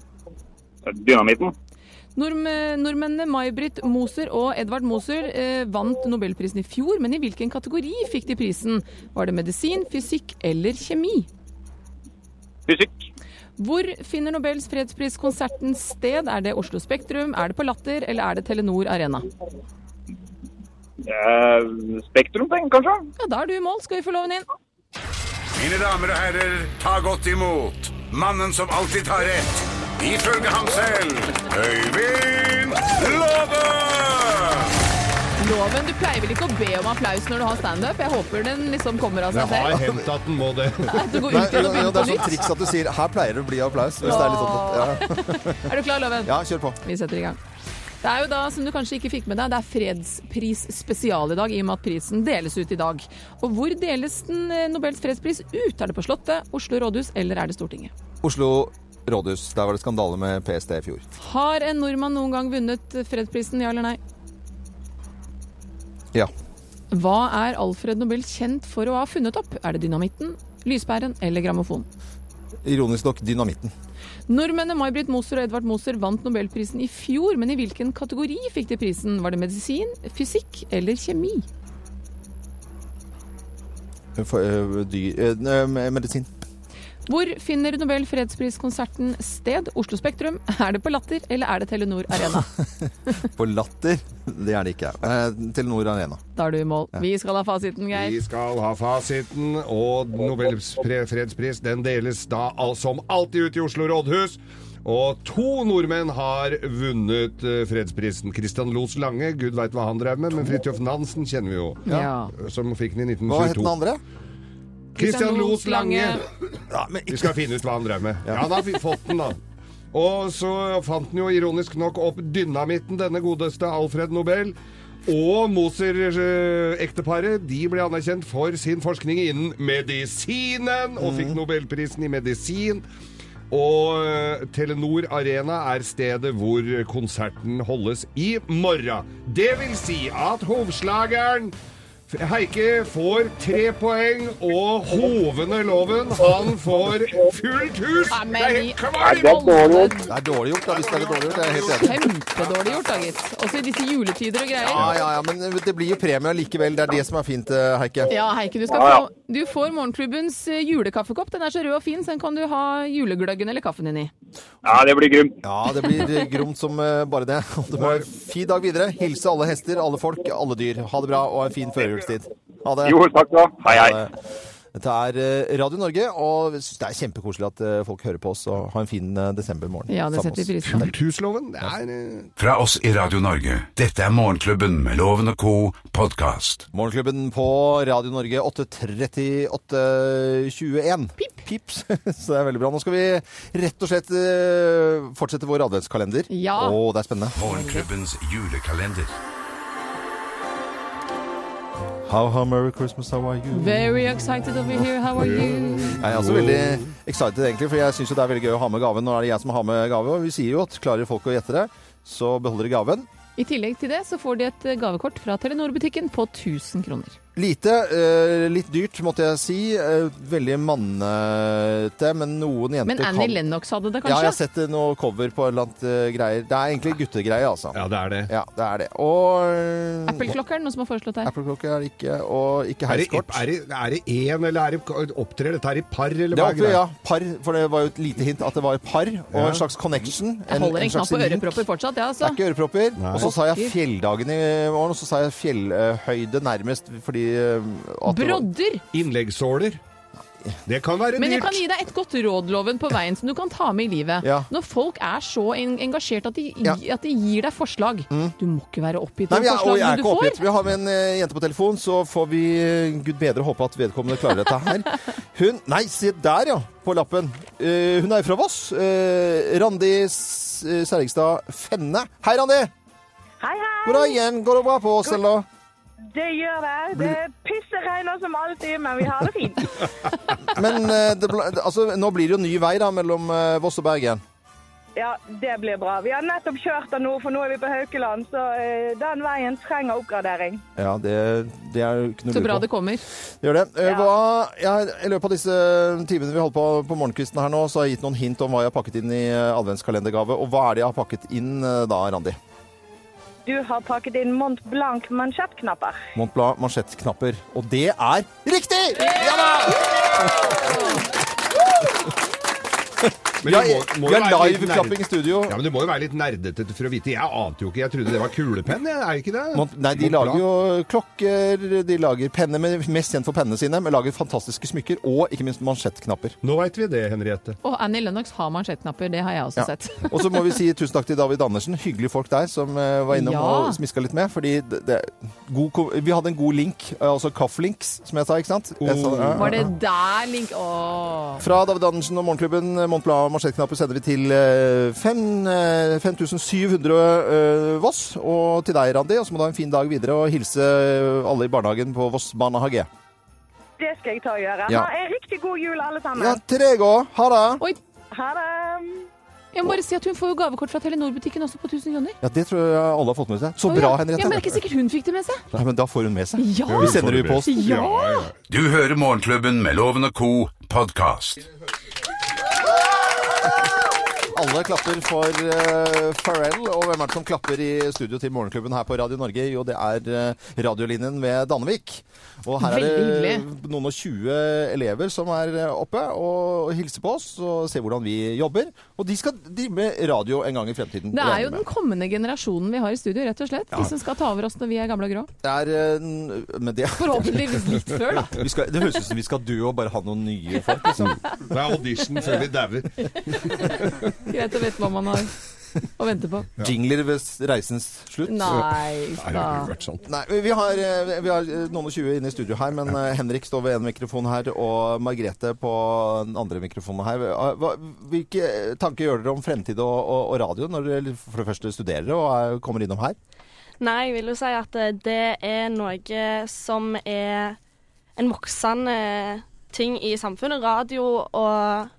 Speaker 9: Dynamitten.
Speaker 3: Nordm nordmennene May-Britt Moser og Edvard Moser eh, vant Nobelprisen i fjor, men i hvilken kategori fikk de prisen? Var det medisin, fysikk eller kjemi?
Speaker 9: Fysikk.
Speaker 3: Hvor finner Nobels fredspris konserten sted? Er det Oslo Spektrum, er det på Latter eller er det Telenor Arena?
Speaker 9: Eh, spektrum, tenk, kanskje?
Speaker 3: Ja, da er du i mål. Skal vi få loven inn?
Speaker 1: Mine damer og herrer, ta godt imot mannen som alltid tar rett. Ifølge ham selv Øyvind Låve!
Speaker 3: Loven, du pleier vel ikke å be om applaus når du har standup? Jeg håper den liksom kommer av
Speaker 4: Det
Speaker 3: seg
Speaker 4: har
Speaker 3: selv.
Speaker 4: hendt at den må det.
Speaker 3: At du går
Speaker 2: Nei,
Speaker 3: ut
Speaker 2: jo,
Speaker 3: igjen
Speaker 2: jo, det
Speaker 3: og begynner
Speaker 2: er
Speaker 3: på
Speaker 2: sånn
Speaker 3: nytt.
Speaker 2: triks at du sier 'her pleier det å bli applaus'. Hvis det er litt sånn, at- ja.
Speaker 3: Er du klar, Loven?
Speaker 2: ja, kjør på.
Speaker 3: Vi setter i gang. Det er jo da, som du kanskje ikke fikk med deg, det er fredspris spesial i dag, i og med at prisen deles ut i dag. Og hvor deles den eh, Nobels fredspris ut? Er det på Slottet, Oslo rådhus eller er det Stortinget?
Speaker 2: Oslo rådhus. Der var det skandale med PST i fjor.
Speaker 3: Har en nordmann noen gang vunnet fredsprisen, ja eller nei?
Speaker 2: Ja.
Speaker 3: Hva er Alfred Nobel kjent for å ha funnet opp? Er det dynamitten, lyspæren eller grammofon?
Speaker 2: Ironisk nok dynamitten.
Speaker 3: Nordmennene May-Britt Moser og Edvard Moser vant Nobelprisen i fjor, men i hvilken kategori fikk de prisen? Var det medisin, fysikk eller kjemi?
Speaker 2: For, eh, ø, dyr, ø, ø, medisin.
Speaker 3: Hvor finner Nobel fredspriskonserten sted? Oslo Spektrum? Er det på Latter, eller er det Telenor Arena?
Speaker 2: På latter. Det er det ikke. Eh, Telenor Arena.
Speaker 3: Da er du i mål. Vi skal ha fasiten,
Speaker 4: Vi
Speaker 3: Geir.
Speaker 4: skal ha fasiten, og Nobels fre- fredspris den deles da al- som alltid ut i Oslo rådhus. Og to nordmenn har vunnet eh, fredsprisen. Christian Los Lange, gud veit hva han drev med, men Fridtjof Nansen kjenner vi jo.
Speaker 3: Ja.
Speaker 4: Som fikk den i
Speaker 2: Hva het den
Speaker 4: 1922.
Speaker 2: andre?
Speaker 4: Christian Los Lange!
Speaker 2: Ja, men
Speaker 4: Vi skal finne ut hva han drev med. Ja, da har vi fått den, da. Og så fant han jo ironisk nok opp dynamitten, denne godeste Alfred Nobel. Og Moser-ekteparet de ble anerkjent Mhm. for sin forskning innen medisinen, og fikk Nobelprisen i medisin. Og eh, Telenor Arena er stedet hvor konserten holdes i morgen. Det vil si at hovslageren F- Heike får tre poeng, og hovene Loven, han får fullt hus!
Speaker 3: Nei, men
Speaker 4: Det er
Speaker 3: vi-
Speaker 4: helt
Speaker 9: Nei,
Speaker 4: kvalm!
Speaker 9: det er dårlig gjort.
Speaker 2: Det er dårlig gjort, da, hvis det er dårlig gjort. Jeg er helt enig.
Speaker 3: Kjempedårlig gjort, da, gitt. Også i disse juletider og greier.
Speaker 2: Ja, ja, ja, men eh, det blir jo premie likevel. Det er det som er fint, eh, Heike.
Speaker 3: Ja, Heike, du, skal
Speaker 9: Ja, ja.
Speaker 3: få, du får morgenklubbens eh, julekaffekopp. Den er så rød og fin, så den kan du ha julegløggen eller kaffen din i.
Speaker 9: Ja, det blir grumt.
Speaker 2: Ja, det blir eh, gromt som eh, bare det. Og Det var fin dag videre. Hilse alle hester, alle folk, alle dyr. Ha det bra og ha en fin førjulstid. Ha det.
Speaker 9: Jo, takk da. Hei, hei.
Speaker 2: Ha det. Dette er eh, Radio Norge, og jeg synes det er kjempekoselig at eh, folk hører på oss. Og ha en fin eh, desembermorgen.
Speaker 3: Ja, det
Speaker 2: sammen med
Speaker 3: setter vi
Speaker 2: oss.
Speaker 3: pris på.
Speaker 4: Fullt hus, Loven. Det er eh,
Speaker 1: Fra oss i Radio Norge. Dette er Morgenklubben med Loven og co. podkast.
Speaker 2: Morgenklubben på Radio Norge 8.38.21. Pip. Pips. Så det er veldig bra. Nå skal vi rett og slett eh, fortsette vår adventskalender.
Speaker 3: Ja.
Speaker 2: Å, det er spennende.
Speaker 1: Morgenklubbens julekalender.
Speaker 2: How, how, merry Christmas, how are you?
Speaker 3: Very excited over here, how are you?
Speaker 2: Jeg er også veldig excited, egentlig, for jeg syns det er veldig gøy å ha med gaven. Nå er det jeg som har med gave, og vi sier jo at klarer folk å gjette det, så beholder de gaven.
Speaker 3: I tillegg til det så får de et eh, gavekort fra Telenor-butikken på 1000 kroner.
Speaker 2: Lite, eh, litt dyrt, måtte jeg si. Eh, veldig mannete, men noen jenter
Speaker 3: Men Annie Lennox hadde det,
Speaker 2: Ja, jeg har
Speaker 3: kanskje?
Speaker 2: sett eh, noe cover på et eller annet eh, greier. Det er egentlig guttegreier, altså.
Speaker 4: Ja, det er det.
Speaker 2: Ja, det er det. Og
Speaker 3: Apple-klokkeren, noen som har foreslått her.
Speaker 2: Apple-klokke er det ikke, og ikke
Speaker 4: Er det,
Speaker 2: heiskort.
Speaker 4: er, det, er det en, eller er det opptrer dette her i par,
Speaker 2: Det
Speaker 4: eller hva
Speaker 2: var
Speaker 4: er
Speaker 2: ikke,
Speaker 4: greia?
Speaker 2: ja, par, for det var jo et lite hint at det var par, og en slags connection.
Speaker 3: Jeg holder en knapp
Speaker 2: slags
Speaker 3: på
Speaker 2: link.
Speaker 3: ørepropper fortsatt, ja,
Speaker 2: Det
Speaker 3: altså.
Speaker 2: er ikke ørepropper. Og så sa jeg
Speaker 3: Pokker.
Speaker 2: fjelldagen i morgen, og så sa jeg fjellhøyde nærmest fordi eh, at det var-
Speaker 3: Brodder!
Speaker 4: Innleggssåler. Det kan være
Speaker 3: Men jeg
Speaker 4: dyrt.
Speaker 3: kan gi deg et godt råd, Loven, på veien som du kan ta med i livet.
Speaker 2: Ja.
Speaker 3: Når folk er så en engasjert at de,
Speaker 2: Ja. Mm.
Speaker 3: at de gir deg forslag Du må ikke være oppgitt
Speaker 2: Nei, men
Speaker 3: over
Speaker 2: jeg, og jeg er
Speaker 3: forslagene du
Speaker 2: ikke oppgitt.
Speaker 3: får.
Speaker 2: Vi har med en eh, jente på telefon, så får vi eh, gud bedre håpe at vedkommende klarer dette her. Hun Nei, se der, ja, på lappen. Eh, hun er fra Voss. Eh, Randi S- eh, Sergstad Fenne. Hei, Randi!
Speaker 10: Hei, hei!
Speaker 2: God dag igjen. Går det bra på oss, eller?
Speaker 10: Det gjør det. Det pisseregner som alltid, men vi har det fint.
Speaker 2: Men eh, det, bl- altså, nå blir det jo ny vei da, mellom eh, Voss og Bergen.
Speaker 10: Ja, det blir bra. Vi har nettopp kjørt den nå, for nå er vi på Haukeland, så eh, den veien trenger oppgradering.
Speaker 2: Ja, det, det er jo ikke noe
Speaker 3: Så
Speaker 2: lurt
Speaker 3: bra
Speaker 2: på.
Speaker 3: det kommer.
Speaker 2: Det Gjør det. Eh,
Speaker 10: Ja.
Speaker 2: Hva, jeg, I løpet av disse eh, timene vi holdt på på morgenkvisten her nå, så har jeg gitt noen hint om hva jeg har pakket inn i eh, adventskalendergave. Og hva er det jeg har pakket inn eh, da, Randi?
Speaker 10: Du har pakket inn Mont Blanc mansjettknapper.
Speaker 2: Mont Blanc mansjettknapper. Og det er riktig! Ja da! Vi
Speaker 4: Men det
Speaker 2: har,
Speaker 4: må- må
Speaker 2: vi
Speaker 4: jo
Speaker 2: har
Speaker 4: være litt
Speaker 2: live-klapping i
Speaker 4: nerd-
Speaker 2: studio.
Speaker 4: Ja, men Det må jo være litt nerdete for å vite. Jeg ante jo ikke. Jeg trodde det var kulepenn. jeg. Er det ikke det?
Speaker 2: Mont- Nei, de
Speaker 4: Mont
Speaker 2: lager
Speaker 4: Blanc.
Speaker 2: jo klokker, de lager penner, men mest kjent for pennene sine. Men lager fantastiske smykker, og ikke minst mansjettknapper.
Speaker 4: Nå veit vi det, Henriette.
Speaker 3: Og Annie Lennox har mansjettknapper, det har jeg også
Speaker 2: Ja.
Speaker 3: sett.
Speaker 2: Og så må vi si tusen takk til David Andersen. Hyggelige folk der som eh, var innom
Speaker 3: Ja.
Speaker 2: og smiska litt med. Fordi det, det, god, ko- vi hadde en god link, eh, altså kafflinks, som jeg sa, ikke sant? Jeg sa, ja, ja,
Speaker 3: Var det
Speaker 2: ja.
Speaker 3: der link Åh.
Speaker 2: Fra David Andersen og Morgenklubben eh, Mont Blanc mansjettknapper sender vi til eh, fem, eh, 5700 eh, Voss. Og til deg, Randi. Og så må du ha en fin dag videre og hilse eh, alle i barnehagen på Voss barnehage.
Speaker 10: Det skal jeg ta og gjøre.
Speaker 2: Ja.
Speaker 10: Ha en riktig god jul, alle sammen.
Speaker 2: Ja, til deg òg. Ha det.
Speaker 3: Oi,
Speaker 10: Ha det!
Speaker 3: jeg må bare si at hun får jo gavekort fra Telenor-butikken også på 1000 kroner.
Speaker 2: Ja, det tror jeg alle har fått med seg. Så
Speaker 3: Å,
Speaker 2: bra,
Speaker 3: ja.
Speaker 2: Henriette.
Speaker 3: Ja, men det er ikke sikkert hun fikk det med seg.
Speaker 2: Nei, men da får hun med seg.
Speaker 3: Ja!
Speaker 2: Vi sender det i post.
Speaker 3: Ja!
Speaker 1: Du hører Morgenklubben med Loven og co. podkast.
Speaker 2: Alle klapper for eh, Pharrell, og hvem er det som klapper i studio til Morgenklubben her på Radio Norge? Jo, det er eh, radiolinjen ved Dannevik. Og her er
Speaker 3: Veldig
Speaker 2: det noen og 20 elever som er eh, oppe og hilser på oss og ser hvordan vi jobber. Og de skal drive med radio en gang i fremtiden.
Speaker 3: Det er
Speaker 2: regner
Speaker 3: jo den
Speaker 2: med.
Speaker 3: kommende generasjonen vi har i studio, rett og slett. De som skal ta over oss når vi er gamle og grå.
Speaker 2: Det er eh, n- Men det
Speaker 3: Forhåpentligvis litt før, da.
Speaker 2: vi skal, det høres ut som vi skal dø og bare ha noen nye folk. Liksom.
Speaker 4: Det er audition før vi dauer.
Speaker 3: Greit å vite hva man har å vente på.
Speaker 2: Jingler ved reisens slutt.
Speaker 3: Nei,
Speaker 4: Nei, det
Speaker 3: da.
Speaker 4: har jo vært sånn.
Speaker 2: Nei, vi har, eh, vi har eh, noen og tjue inne i studio her, men eh, Henrik står ved en mikrofon her, og Margrethe på den andre mikrofonen her. Eh, Hva- Hvilke tanker gjør dere om fremtid og, og, og radio når dere for det første studerer og er, kommer innom her?
Speaker 11: Nei, jeg vil jo si at eh, det er noe som eh, er en voksende ting i samfunnet. Radio og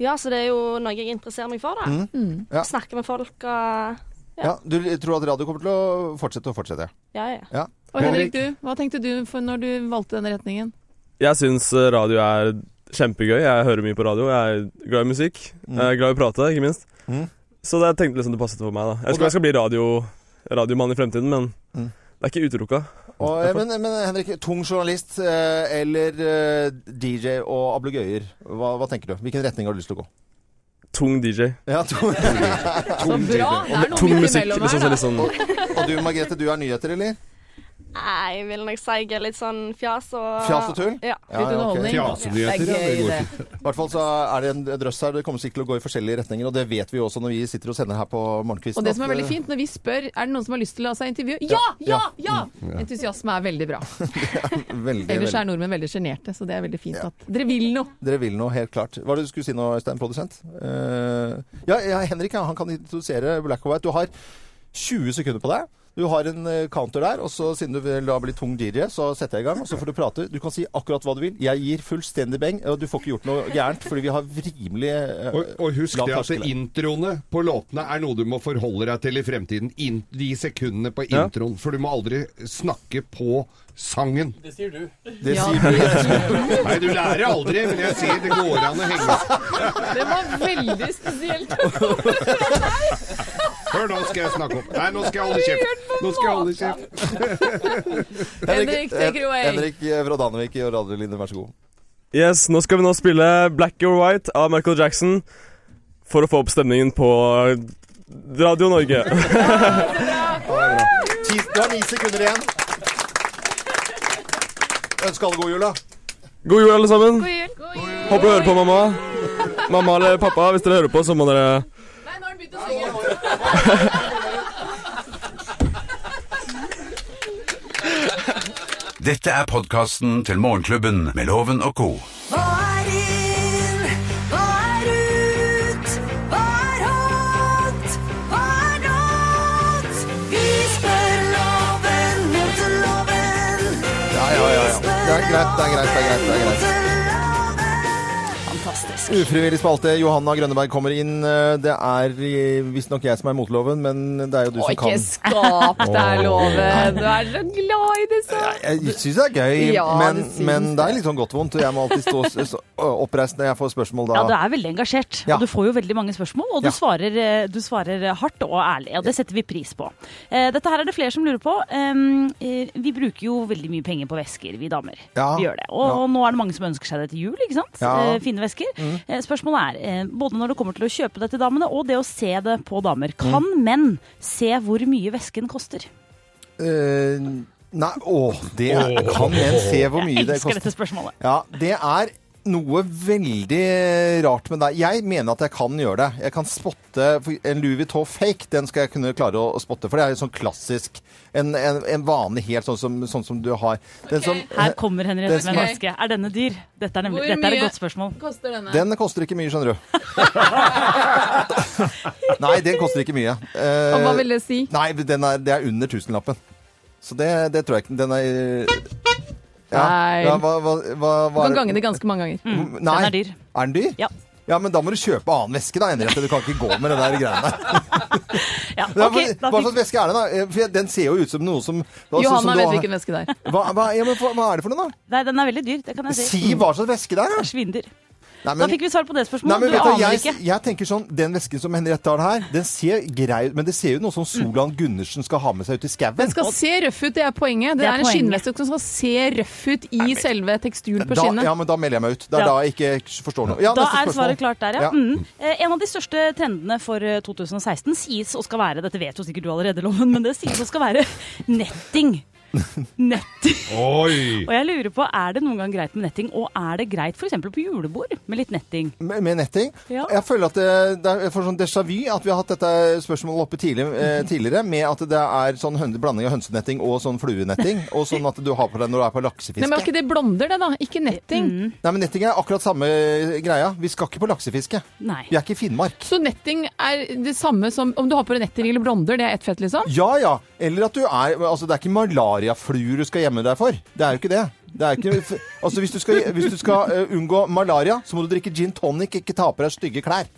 Speaker 11: Ja, så det er jo noe jeg interesserer meg for, da.
Speaker 2: Mm. Mm. Ja.
Speaker 11: Snakke med folk og
Speaker 2: Ja. Du tror at radio kommer til å fortsette og fortsette?
Speaker 11: Ja, ja.
Speaker 2: Ja.
Speaker 3: Og Henrik, du, hva tenkte du for når du valgte denne retningen?
Speaker 12: Jeg syns radio er kjempegøy. Jeg hører mye på radio. Jeg er glad i musikk. Jeg er glad i å prate, ikke minst.
Speaker 2: Mm.
Speaker 12: Så det jeg tenkte liksom det passet for meg. da
Speaker 2: Og
Speaker 12: Jeg tror
Speaker 2: da-
Speaker 12: jeg skal bli radio, radiomann i fremtiden, men
Speaker 2: Mm.
Speaker 12: det er ikke utelukka.
Speaker 2: Og, eh, men, men Henrik, tung journalist eh, eller eh, DJ og ablegøyer, hva, hva tenker du? Hvilken retning har du lyst til å gå?
Speaker 12: Tung DJ.
Speaker 2: Ja, tung,
Speaker 12: Tung
Speaker 2: DJ.
Speaker 12: bra, det er noe Tung midt musikk, imellom her, liksom, så da. litt sånn-
Speaker 2: og, og du Margrethe, du er nyheter, eller?
Speaker 11: Nei, jeg vil nok si jeg er litt sånn fjas og
Speaker 2: Fjas og tull?
Speaker 11: Ja.
Speaker 2: ok.
Speaker 11: Det er gøy, det.
Speaker 2: I hvert fall så er det en drøss her. Det kommer sikkert til å gå i forskjellige retninger, og det vet vi jo også når vi sitter og sender her på morgenkvisten.
Speaker 3: Og det som
Speaker 2: at,
Speaker 3: er veldig
Speaker 2: eh,
Speaker 3: fint, når vi spør er det noen som har lyst til å la seg intervjue, ja, ja, ja!
Speaker 2: Mm, ja.
Speaker 3: Entusiasme er veldig bra.
Speaker 2: Veldig,
Speaker 3: Ellers er
Speaker 2: veldig.
Speaker 3: nordmenn veldig sjenerte, så det er veldig fint at dere vil noe.
Speaker 2: Dere vil noe, helt klart. Hva er det du skulle si nå, Øystein, produsent? Eh, ja, ja, Henrik ja, han kan introdusere Black and White. Du har 20 sekunder på deg. Du har en eh, counter der, og så siden du vil da bli tung DJ, så setter jeg i gang, og så får du prate. Du kan si akkurat hva du vil. Jeg gir fullstendig beng, og du får ikke gjort noe gærent, fordi vi har rimelig eh,
Speaker 4: Og, og husk
Speaker 2: lav
Speaker 4: det at
Speaker 2: terskel.
Speaker 4: introene på låtene er noe du må forholde deg til i fremtiden. In, de sekundene på
Speaker 12: Ja.
Speaker 4: introen. For du må aldri snakke på sangen.
Speaker 6: Det sier du.
Speaker 4: Det sier du. Nei, du lærer aldri, men jeg sier det går an å henge
Speaker 3: Det var veldig spesielt.
Speaker 4: Hør, nå skal jeg snakke om Nei, nå skal jeg holde kjeft. Nå skal jeg holde kjeft.
Speaker 3: Henrik, take it away.
Speaker 2: Henrik eh, fra Danevik i Radio Linne, vær så god.
Speaker 12: Yes, nå skal vi nå spille Black or White av Michael Jackson for å få opp stemningen på Radio Norge.
Speaker 2: Ti, du har ni sekunder igjen. Ønsker alle god jul, da.
Speaker 12: God jul, alle sammen.
Speaker 2: God jul.
Speaker 12: Håper du hører på mamma. Mamma eller pappa, hvis dere hører på, så må dere
Speaker 3: Nei, nå har han begynt å
Speaker 1: Dette er podkasten til Morgenklubben med Loven og co.
Speaker 5: Hva er inn? Hva er ut? Hva er hot? Hva er not? Vi spør loven mot loven.
Speaker 2: Ja, ja, ja. ja. Det er greit, det er greit. det er greit, det er greit.
Speaker 5: Fantastisk.
Speaker 2: Ufrivillig spalte. Johanna Grønneberg kommer inn. Eh, Det er eh, visstnok jeg som er mot loven, men det er jo du
Speaker 3: Å,
Speaker 2: som
Speaker 3: ikke
Speaker 2: kan.
Speaker 3: skap deg, Loven. Du er så glad i det sånn.
Speaker 2: Jeg syns det er gøy,
Speaker 3: Ja,
Speaker 2: men,
Speaker 3: du syns
Speaker 2: men det er litt sånn godt vondt. og Jeg må alltid stå s- s- oppreist når jeg får spørsmål da.
Speaker 8: Ja, du er veldig engasjert,
Speaker 2: Ja.
Speaker 8: og du får jo veldig mange spørsmål. Og du,
Speaker 2: Ja.
Speaker 8: svarer, eh, du svarer hardt og ærlig, og det setter vi pris på. Eh, Dette her er det flere som lurer på. Um, eh, Vi bruker jo veldig mye penger på vesker, vi damer.
Speaker 13: Ja.
Speaker 8: Vi gjør det. Og,
Speaker 13: Ja.
Speaker 8: og nå er det mange som ønsker seg det til jul, ikke sant?
Speaker 13: Ja.
Speaker 8: Eh, Fine vesker.
Speaker 13: Mm.
Speaker 8: Eh, Spørsmålet er, eh, både når det kommer til å kjøpe det til damene, og det å se det på damer,
Speaker 2: Mm.
Speaker 8: kan menn se hvor mye vesken koster?
Speaker 2: Eh, nei, åh, det er, kan en se hvor mye
Speaker 8: Jeg
Speaker 2: det
Speaker 8: elsker
Speaker 2: koster.
Speaker 8: dette spørsmålet.
Speaker 2: Ja, det er noe veldig rart med deg. Jeg mener at jeg kan gjøre det. Jeg kan spotte for En Louis Vuitton fake, den skal jeg kunne klare å å spotte, for det er jo sånn klassisk. En, en, en vanlig helt sånn som, sånn som du har. Den som,
Speaker 8: Her kommer
Speaker 2: den
Speaker 8: Henriette med
Speaker 2: som-
Speaker 8: en veske. Er denne dyr? Dette er, nemlig,
Speaker 3: Hvor
Speaker 8: dette er et
Speaker 3: mye
Speaker 8: godt spørsmål.
Speaker 3: koster denne?
Speaker 2: Den koster ikke mye, skjønner du. Nei, den koster ikke mye. Eh,
Speaker 3: Og hva vil det si?
Speaker 2: Nei, den er, det er under tusenlappen. Så det, det tror jeg ikke. Den er ja,
Speaker 3: Feil.
Speaker 2: ja, hva, hva, hva,
Speaker 3: Du
Speaker 2: hva
Speaker 3: kan gange det ganske mange ganger.
Speaker 2: Nei. Er den dyr? Ja. men da må du kjøpe annen veske, da, Henriette. Du kan ikke gå med den der greiene.
Speaker 8: Ja, ok, da
Speaker 2: hva
Speaker 8: fikk-
Speaker 2: slags veske er det, da? Eh, For jeg- Den ser jo ut som noe som altså, som
Speaker 3: Johanna
Speaker 2: du
Speaker 3: vet
Speaker 2: har-
Speaker 3: hvilken veske det er.
Speaker 2: Hva, hva, ja, men, hva, hva er det for noe, da?
Speaker 8: Nei, den er veldig dyr, det kan jeg si. Mm.
Speaker 2: Si hva slags veske det er, da!
Speaker 8: Svindyr.
Speaker 2: Nei,
Speaker 8: Da fikk vi svar på det
Speaker 2: Nei,
Speaker 8: spørsmålet.
Speaker 2: men
Speaker 8: Du
Speaker 2: vet du,
Speaker 8: aner
Speaker 2: jeg,
Speaker 8: ikke.
Speaker 2: jeg tenker sånn, Den vesken som Henriette har her, den ser grei ut, men det ser jo noe som
Speaker 8: Mm.
Speaker 2: Solan Gundersen skal ha med seg ut i skauen.
Speaker 3: Den skal se røff ut, det er poenget. Det,
Speaker 2: Det er
Speaker 3: er, en
Speaker 2: poenget.
Speaker 3: skinnveske som skal se røff ut i selve teksturen på
Speaker 2: da,
Speaker 3: skinnet.
Speaker 2: ja, men da melder jeg meg ut. Det er
Speaker 3: Ja.
Speaker 2: da jeg ikke forstår noe. Ja,
Speaker 8: da
Speaker 2: neste
Speaker 8: er
Speaker 2: spørsmål.
Speaker 8: svaret klart der, ja.
Speaker 2: Ja.
Speaker 8: Mm. Eh, En av de største trendene for eh, 2016 sies å skal være, dette vet jo sikkert du allerede, Loven, men det sies å skal være netting.
Speaker 4: Oi!
Speaker 8: Og jeg lurer på, er det noen gang greit med netting, og er det greit f.eks. på julebord med litt netting?
Speaker 2: Med, med netting?
Speaker 8: Ja.
Speaker 2: Jeg føler at det, det er for sånn déjà vu at vi har hatt dette spørsmålet oppe tidlig, eh,
Speaker 3: Mm-hmm.
Speaker 2: tidligere, med at det er sånn høn, blanding av hønsenetting og sånn fluenetting, og sånn at du har på deg når du er på
Speaker 3: Nei,
Speaker 2: laksefiske.
Speaker 3: men var ikke det blonder, det, da? Ikke netting.
Speaker 2: Nei, men netting er akkurat samme eh, greia. Vi skal ikke på laksefiske.
Speaker 8: Nei.
Speaker 2: Vi er ikke i Finnmark.
Speaker 3: Så netting er det samme som om du har på deg netting eller blonder, det er ett fett, liksom?
Speaker 2: Ja, ja. Eller at du er Altså, det er ikke malariafluer du skal gjemme deg for. Det er jo ikke det. Det er ikke, altså, hvis du skal, hvis du skal eh, unngå malaria, så må du drikke gin tonic, ikke ta på deg stygge klær.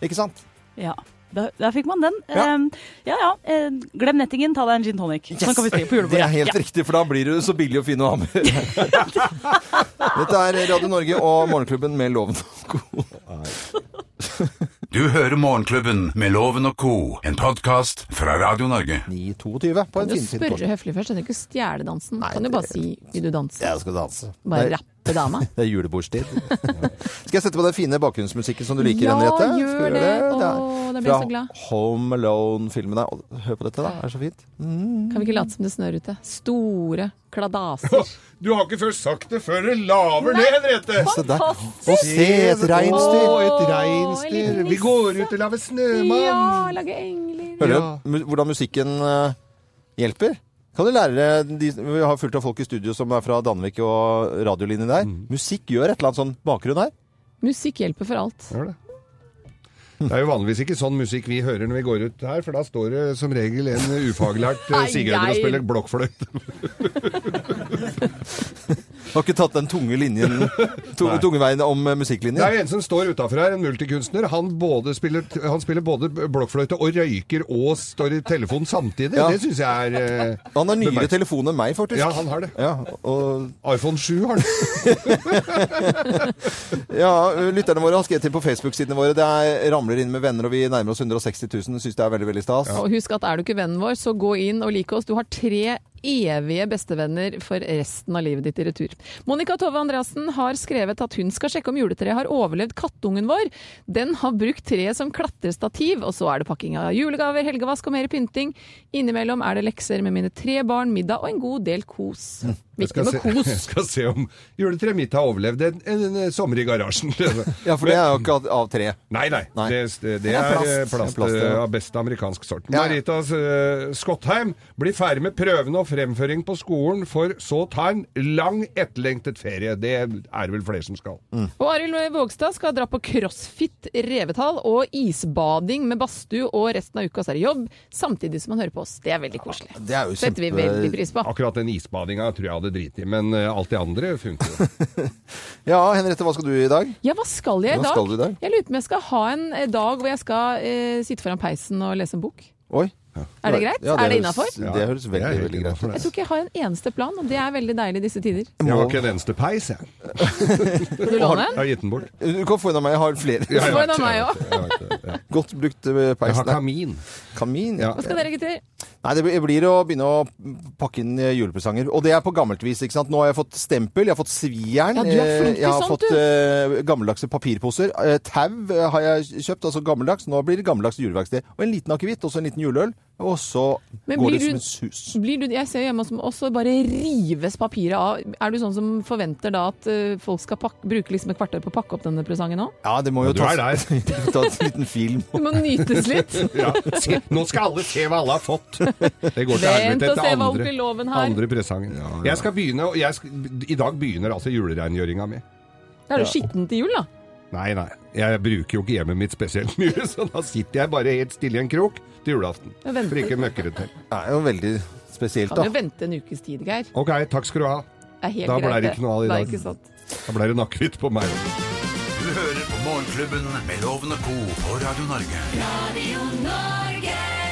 Speaker 2: Ikke sant?
Speaker 8: Ja. Da, der fikk man den.
Speaker 2: Ja.
Speaker 8: Eh, ja, ja. eh, glem nettingen, ta deg en gin tonic. Sånn kan vi si på julebordet.
Speaker 2: Det er helt
Speaker 8: ja.
Speaker 2: riktig, for da blir du så billig og fin å ha med. Dette er Radio Norge og Morgenklubben med Loven og Co.
Speaker 1: Du hører Morgenklubben med Loven og co., en podkast fra Radio Norge.
Speaker 2: 9.22 på
Speaker 3: Kan du spørre høflig først? Kan du ikke stjele dansen? Kan du bare si 'vil du danse'?
Speaker 2: Jeg skal danse.
Speaker 3: Bare
Speaker 2: Nei.
Speaker 3: rappe dama?
Speaker 2: Det er julebordstid. Skal jeg sette på den fine bakgrunnsmusikken som du liker,
Speaker 3: Ja,
Speaker 2: Henriette?
Speaker 3: gjør
Speaker 2: Skal vi gjøre
Speaker 3: det.
Speaker 2: er
Speaker 3: Åh, da blir jeg så glad.
Speaker 2: Fra Home Alone-filmene. Å, Hør på dette, da. Det er så fint.
Speaker 3: Kan vi ikke late som det snør ute? Store kladaser.
Speaker 4: Du har ikke først sagt det før du laver ned, Henriette!
Speaker 2: Se der. Og se et reinsdyr!
Speaker 4: Å, et reinsdyr. Vi går ut og lager snømann.
Speaker 3: Ja, lage engler.
Speaker 2: Hører du mu- hvordan musikken eh, hjelper? Kan du lære deg- de, Vi har fullt av folk i studio som er fra Danvik og radiolinjen der.
Speaker 4: Mm.
Speaker 2: Musikk gjør et eller annet sånn bakgrunn her.
Speaker 3: Musikk hjelper for alt.
Speaker 4: Gjør det. Det er jo vanligvis ikke sånn musikk vi hører når vi går ut her, for da står det som regel en ufaglært eh,
Speaker 3: Ai,
Speaker 4: sigøyner og
Speaker 3: ai.
Speaker 4: spiller blokkfløyte.
Speaker 2: Har ikke tatt den tunge linjen tu-
Speaker 4: Nei.
Speaker 2: tunge veien om eh,
Speaker 4: Det er
Speaker 2: musikklinjen.
Speaker 4: jo en som står utafor her, en multikunstner. Han, både spiller, han spiller både blokkfløyte og røyker og står i telefonen samtidig.
Speaker 2: Ja.
Speaker 4: Det syns jeg er eh,
Speaker 2: Han har nyere
Speaker 4: bemerkelsesverdig.
Speaker 2: telefon enn meg, faktisk.
Speaker 4: Ja, han har det.
Speaker 2: Ja, og...
Speaker 4: iPhone 7 har han.
Speaker 2: Ja, lytterne våre har skrevet inn på Facebook-sidene våre. Det er, ramler inn med venner, og vi nærmer oss 160 000. Syns det er veldig, veldig stas.
Speaker 3: Og husk at er du ikke vennen vår, så gå inn og like oss. Du har tre evige bestevenner for resten av livet ditt i retur. Monica Tove Andreassen har skrevet at hun skal sjekke om juletreet har overlevd kattungen vår. Den har brukt treet som klatrestativ, og så er det pakking av julegaver, helgevask og mer pynting. Innimellom er det lekser med mine tre barn, middag og en god del kos. Viktig med
Speaker 4: se, Mm. jeg
Speaker 3: kos.
Speaker 4: skal se om juletreet mitt har overlevd en, en, en sommer i garasjen.
Speaker 2: Ja, for det er jo ikke av- av tre.
Speaker 4: Nei, nei.
Speaker 2: Nei.
Speaker 4: Det, det,
Speaker 2: Det er
Speaker 4: er
Speaker 2: plast.
Speaker 4: eh, plast,
Speaker 2: Det er plast, ja.
Speaker 4: eh, av beste amerikansk sort.
Speaker 2: Ja, ja.
Speaker 4: Marita eh, Skottheim blir ferdig med prøvene og fremføring på skolen, for så ta en lang etterlengtet ferie. Det er det vel flere som skal.
Speaker 3: Og Arild Vågstad skal dra på crossfit, revetall og isbading med badstue, og resten av uka så er det jobb, samtidig som man hører på oss. Det er veldig koselig.
Speaker 2: Det er jo
Speaker 3: Setter vi
Speaker 2: kjempe-
Speaker 3: veldig pris på.
Speaker 4: Akkurat den isbadinga tror jeg hadde driti i, men eh, alt det andre funker jo.
Speaker 2: Ja, Henriette, hva skal du i dag?
Speaker 3: Ja, hva skal jeg i
Speaker 2: Hva
Speaker 3: dag?
Speaker 2: skal du i dag?
Speaker 3: Jeg lurer på om jeg skal ha en eh, dag hvor jeg skal eh, sitte foran peisen og lese en bok.
Speaker 2: Oi.
Speaker 3: Er det greit?
Speaker 2: Ja,
Speaker 3: er det
Speaker 2: høres-
Speaker 3: innafor?
Speaker 2: Det høres
Speaker 4: Jeg er
Speaker 2: veldig,
Speaker 4: helt
Speaker 2: veldig greit
Speaker 4: innenfor
Speaker 2: ut.
Speaker 3: Jeg tror ikke jeg har en eneste plan, og det er veldig deilig i disse tider.
Speaker 4: Jeg har ikke en eneste peis, jeg.
Speaker 3: Vil du låne
Speaker 4: Jeg
Speaker 3: en?
Speaker 4: har gitt den bort.
Speaker 2: Du kan få en av meg, jeg har flere.
Speaker 4: Jeg
Speaker 3: Få
Speaker 4: har
Speaker 3: en av
Speaker 4: ikke-
Speaker 3: meg òg.
Speaker 4: jeg har ikke- ja.
Speaker 2: Godt brukt eh,
Speaker 4: Jeg har
Speaker 2: peisen. Nei,
Speaker 4: kamin.
Speaker 2: Kamin, ja.
Speaker 4: Ja.
Speaker 3: Hva skal dere gutter?
Speaker 2: Nei, det blir- blir å begynne å pakke inn eh, julepresanger. Og det er på gammelt vis, ikke sant. Nå har jeg fått stempel, jeg har fått svijern.
Speaker 3: Ja, du er
Speaker 2: eh,
Speaker 3: flink til
Speaker 2: Jeg har
Speaker 3: sånt,
Speaker 2: fått
Speaker 3: du.
Speaker 2: eh, gammeldagse papirposer. Eh, Tau eh, har jeg kjøpt, altså gammeldags. Nå blir det gammeldags juleverksted. Og en liten akevitt, og så en liten juleøl. Og så
Speaker 3: Men
Speaker 2: går
Speaker 3: blir
Speaker 2: det som
Speaker 3: du-
Speaker 2: en sus.
Speaker 3: Blir du, jeg ser jo hjemme hos oss og bare rives papiret av. Er du sånn som forventer da at eh, folk skal pakke, bruke liksom et kvarter på å pakke opp denne presangen òg?
Speaker 2: Ja, det må jo
Speaker 4: Du er
Speaker 2: tas,
Speaker 4: der.
Speaker 2: ta en liten film.
Speaker 3: Det må nytes litt.
Speaker 4: Ja. Se, nå skal alle se hva alle har fått. Det går til
Speaker 3: Vent og
Speaker 4: helvete etter
Speaker 3: se hva
Speaker 4: andre.
Speaker 3: onkel Loven har.
Speaker 4: Andre presangen. Jeg skal begynne, og jeg skal, I dag begynner altså julereingjøringa mi.
Speaker 3: Da er du skitten til jul, da.
Speaker 4: Nei, nei. Jeg bruker jo ikke hjemmet mitt spesielt mye, så da sitter jeg bare helt stille i en krok til julaften.
Speaker 3: Jeg venter.
Speaker 4: For ikke møkkere til.
Speaker 2: Det er jo veldig spesielt,
Speaker 3: Kan
Speaker 2: da.
Speaker 3: jo vente en ukes tid, Geir.
Speaker 4: OK, takk skal du ha.
Speaker 3: Det er helt
Speaker 4: Da ble
Speaker 3: greit.
Speaker 4: det ikke noe av i
Speaker 3: Nei,
Speaker 4: dag.
Speaker 3: ikke sant.
Speaker 4: Da ble det nakkehvitt på meg.
Speaker 1: Du hører på Morgenklubben med Loven og co. på Radio Norge.
Speaker 5: Radio Norge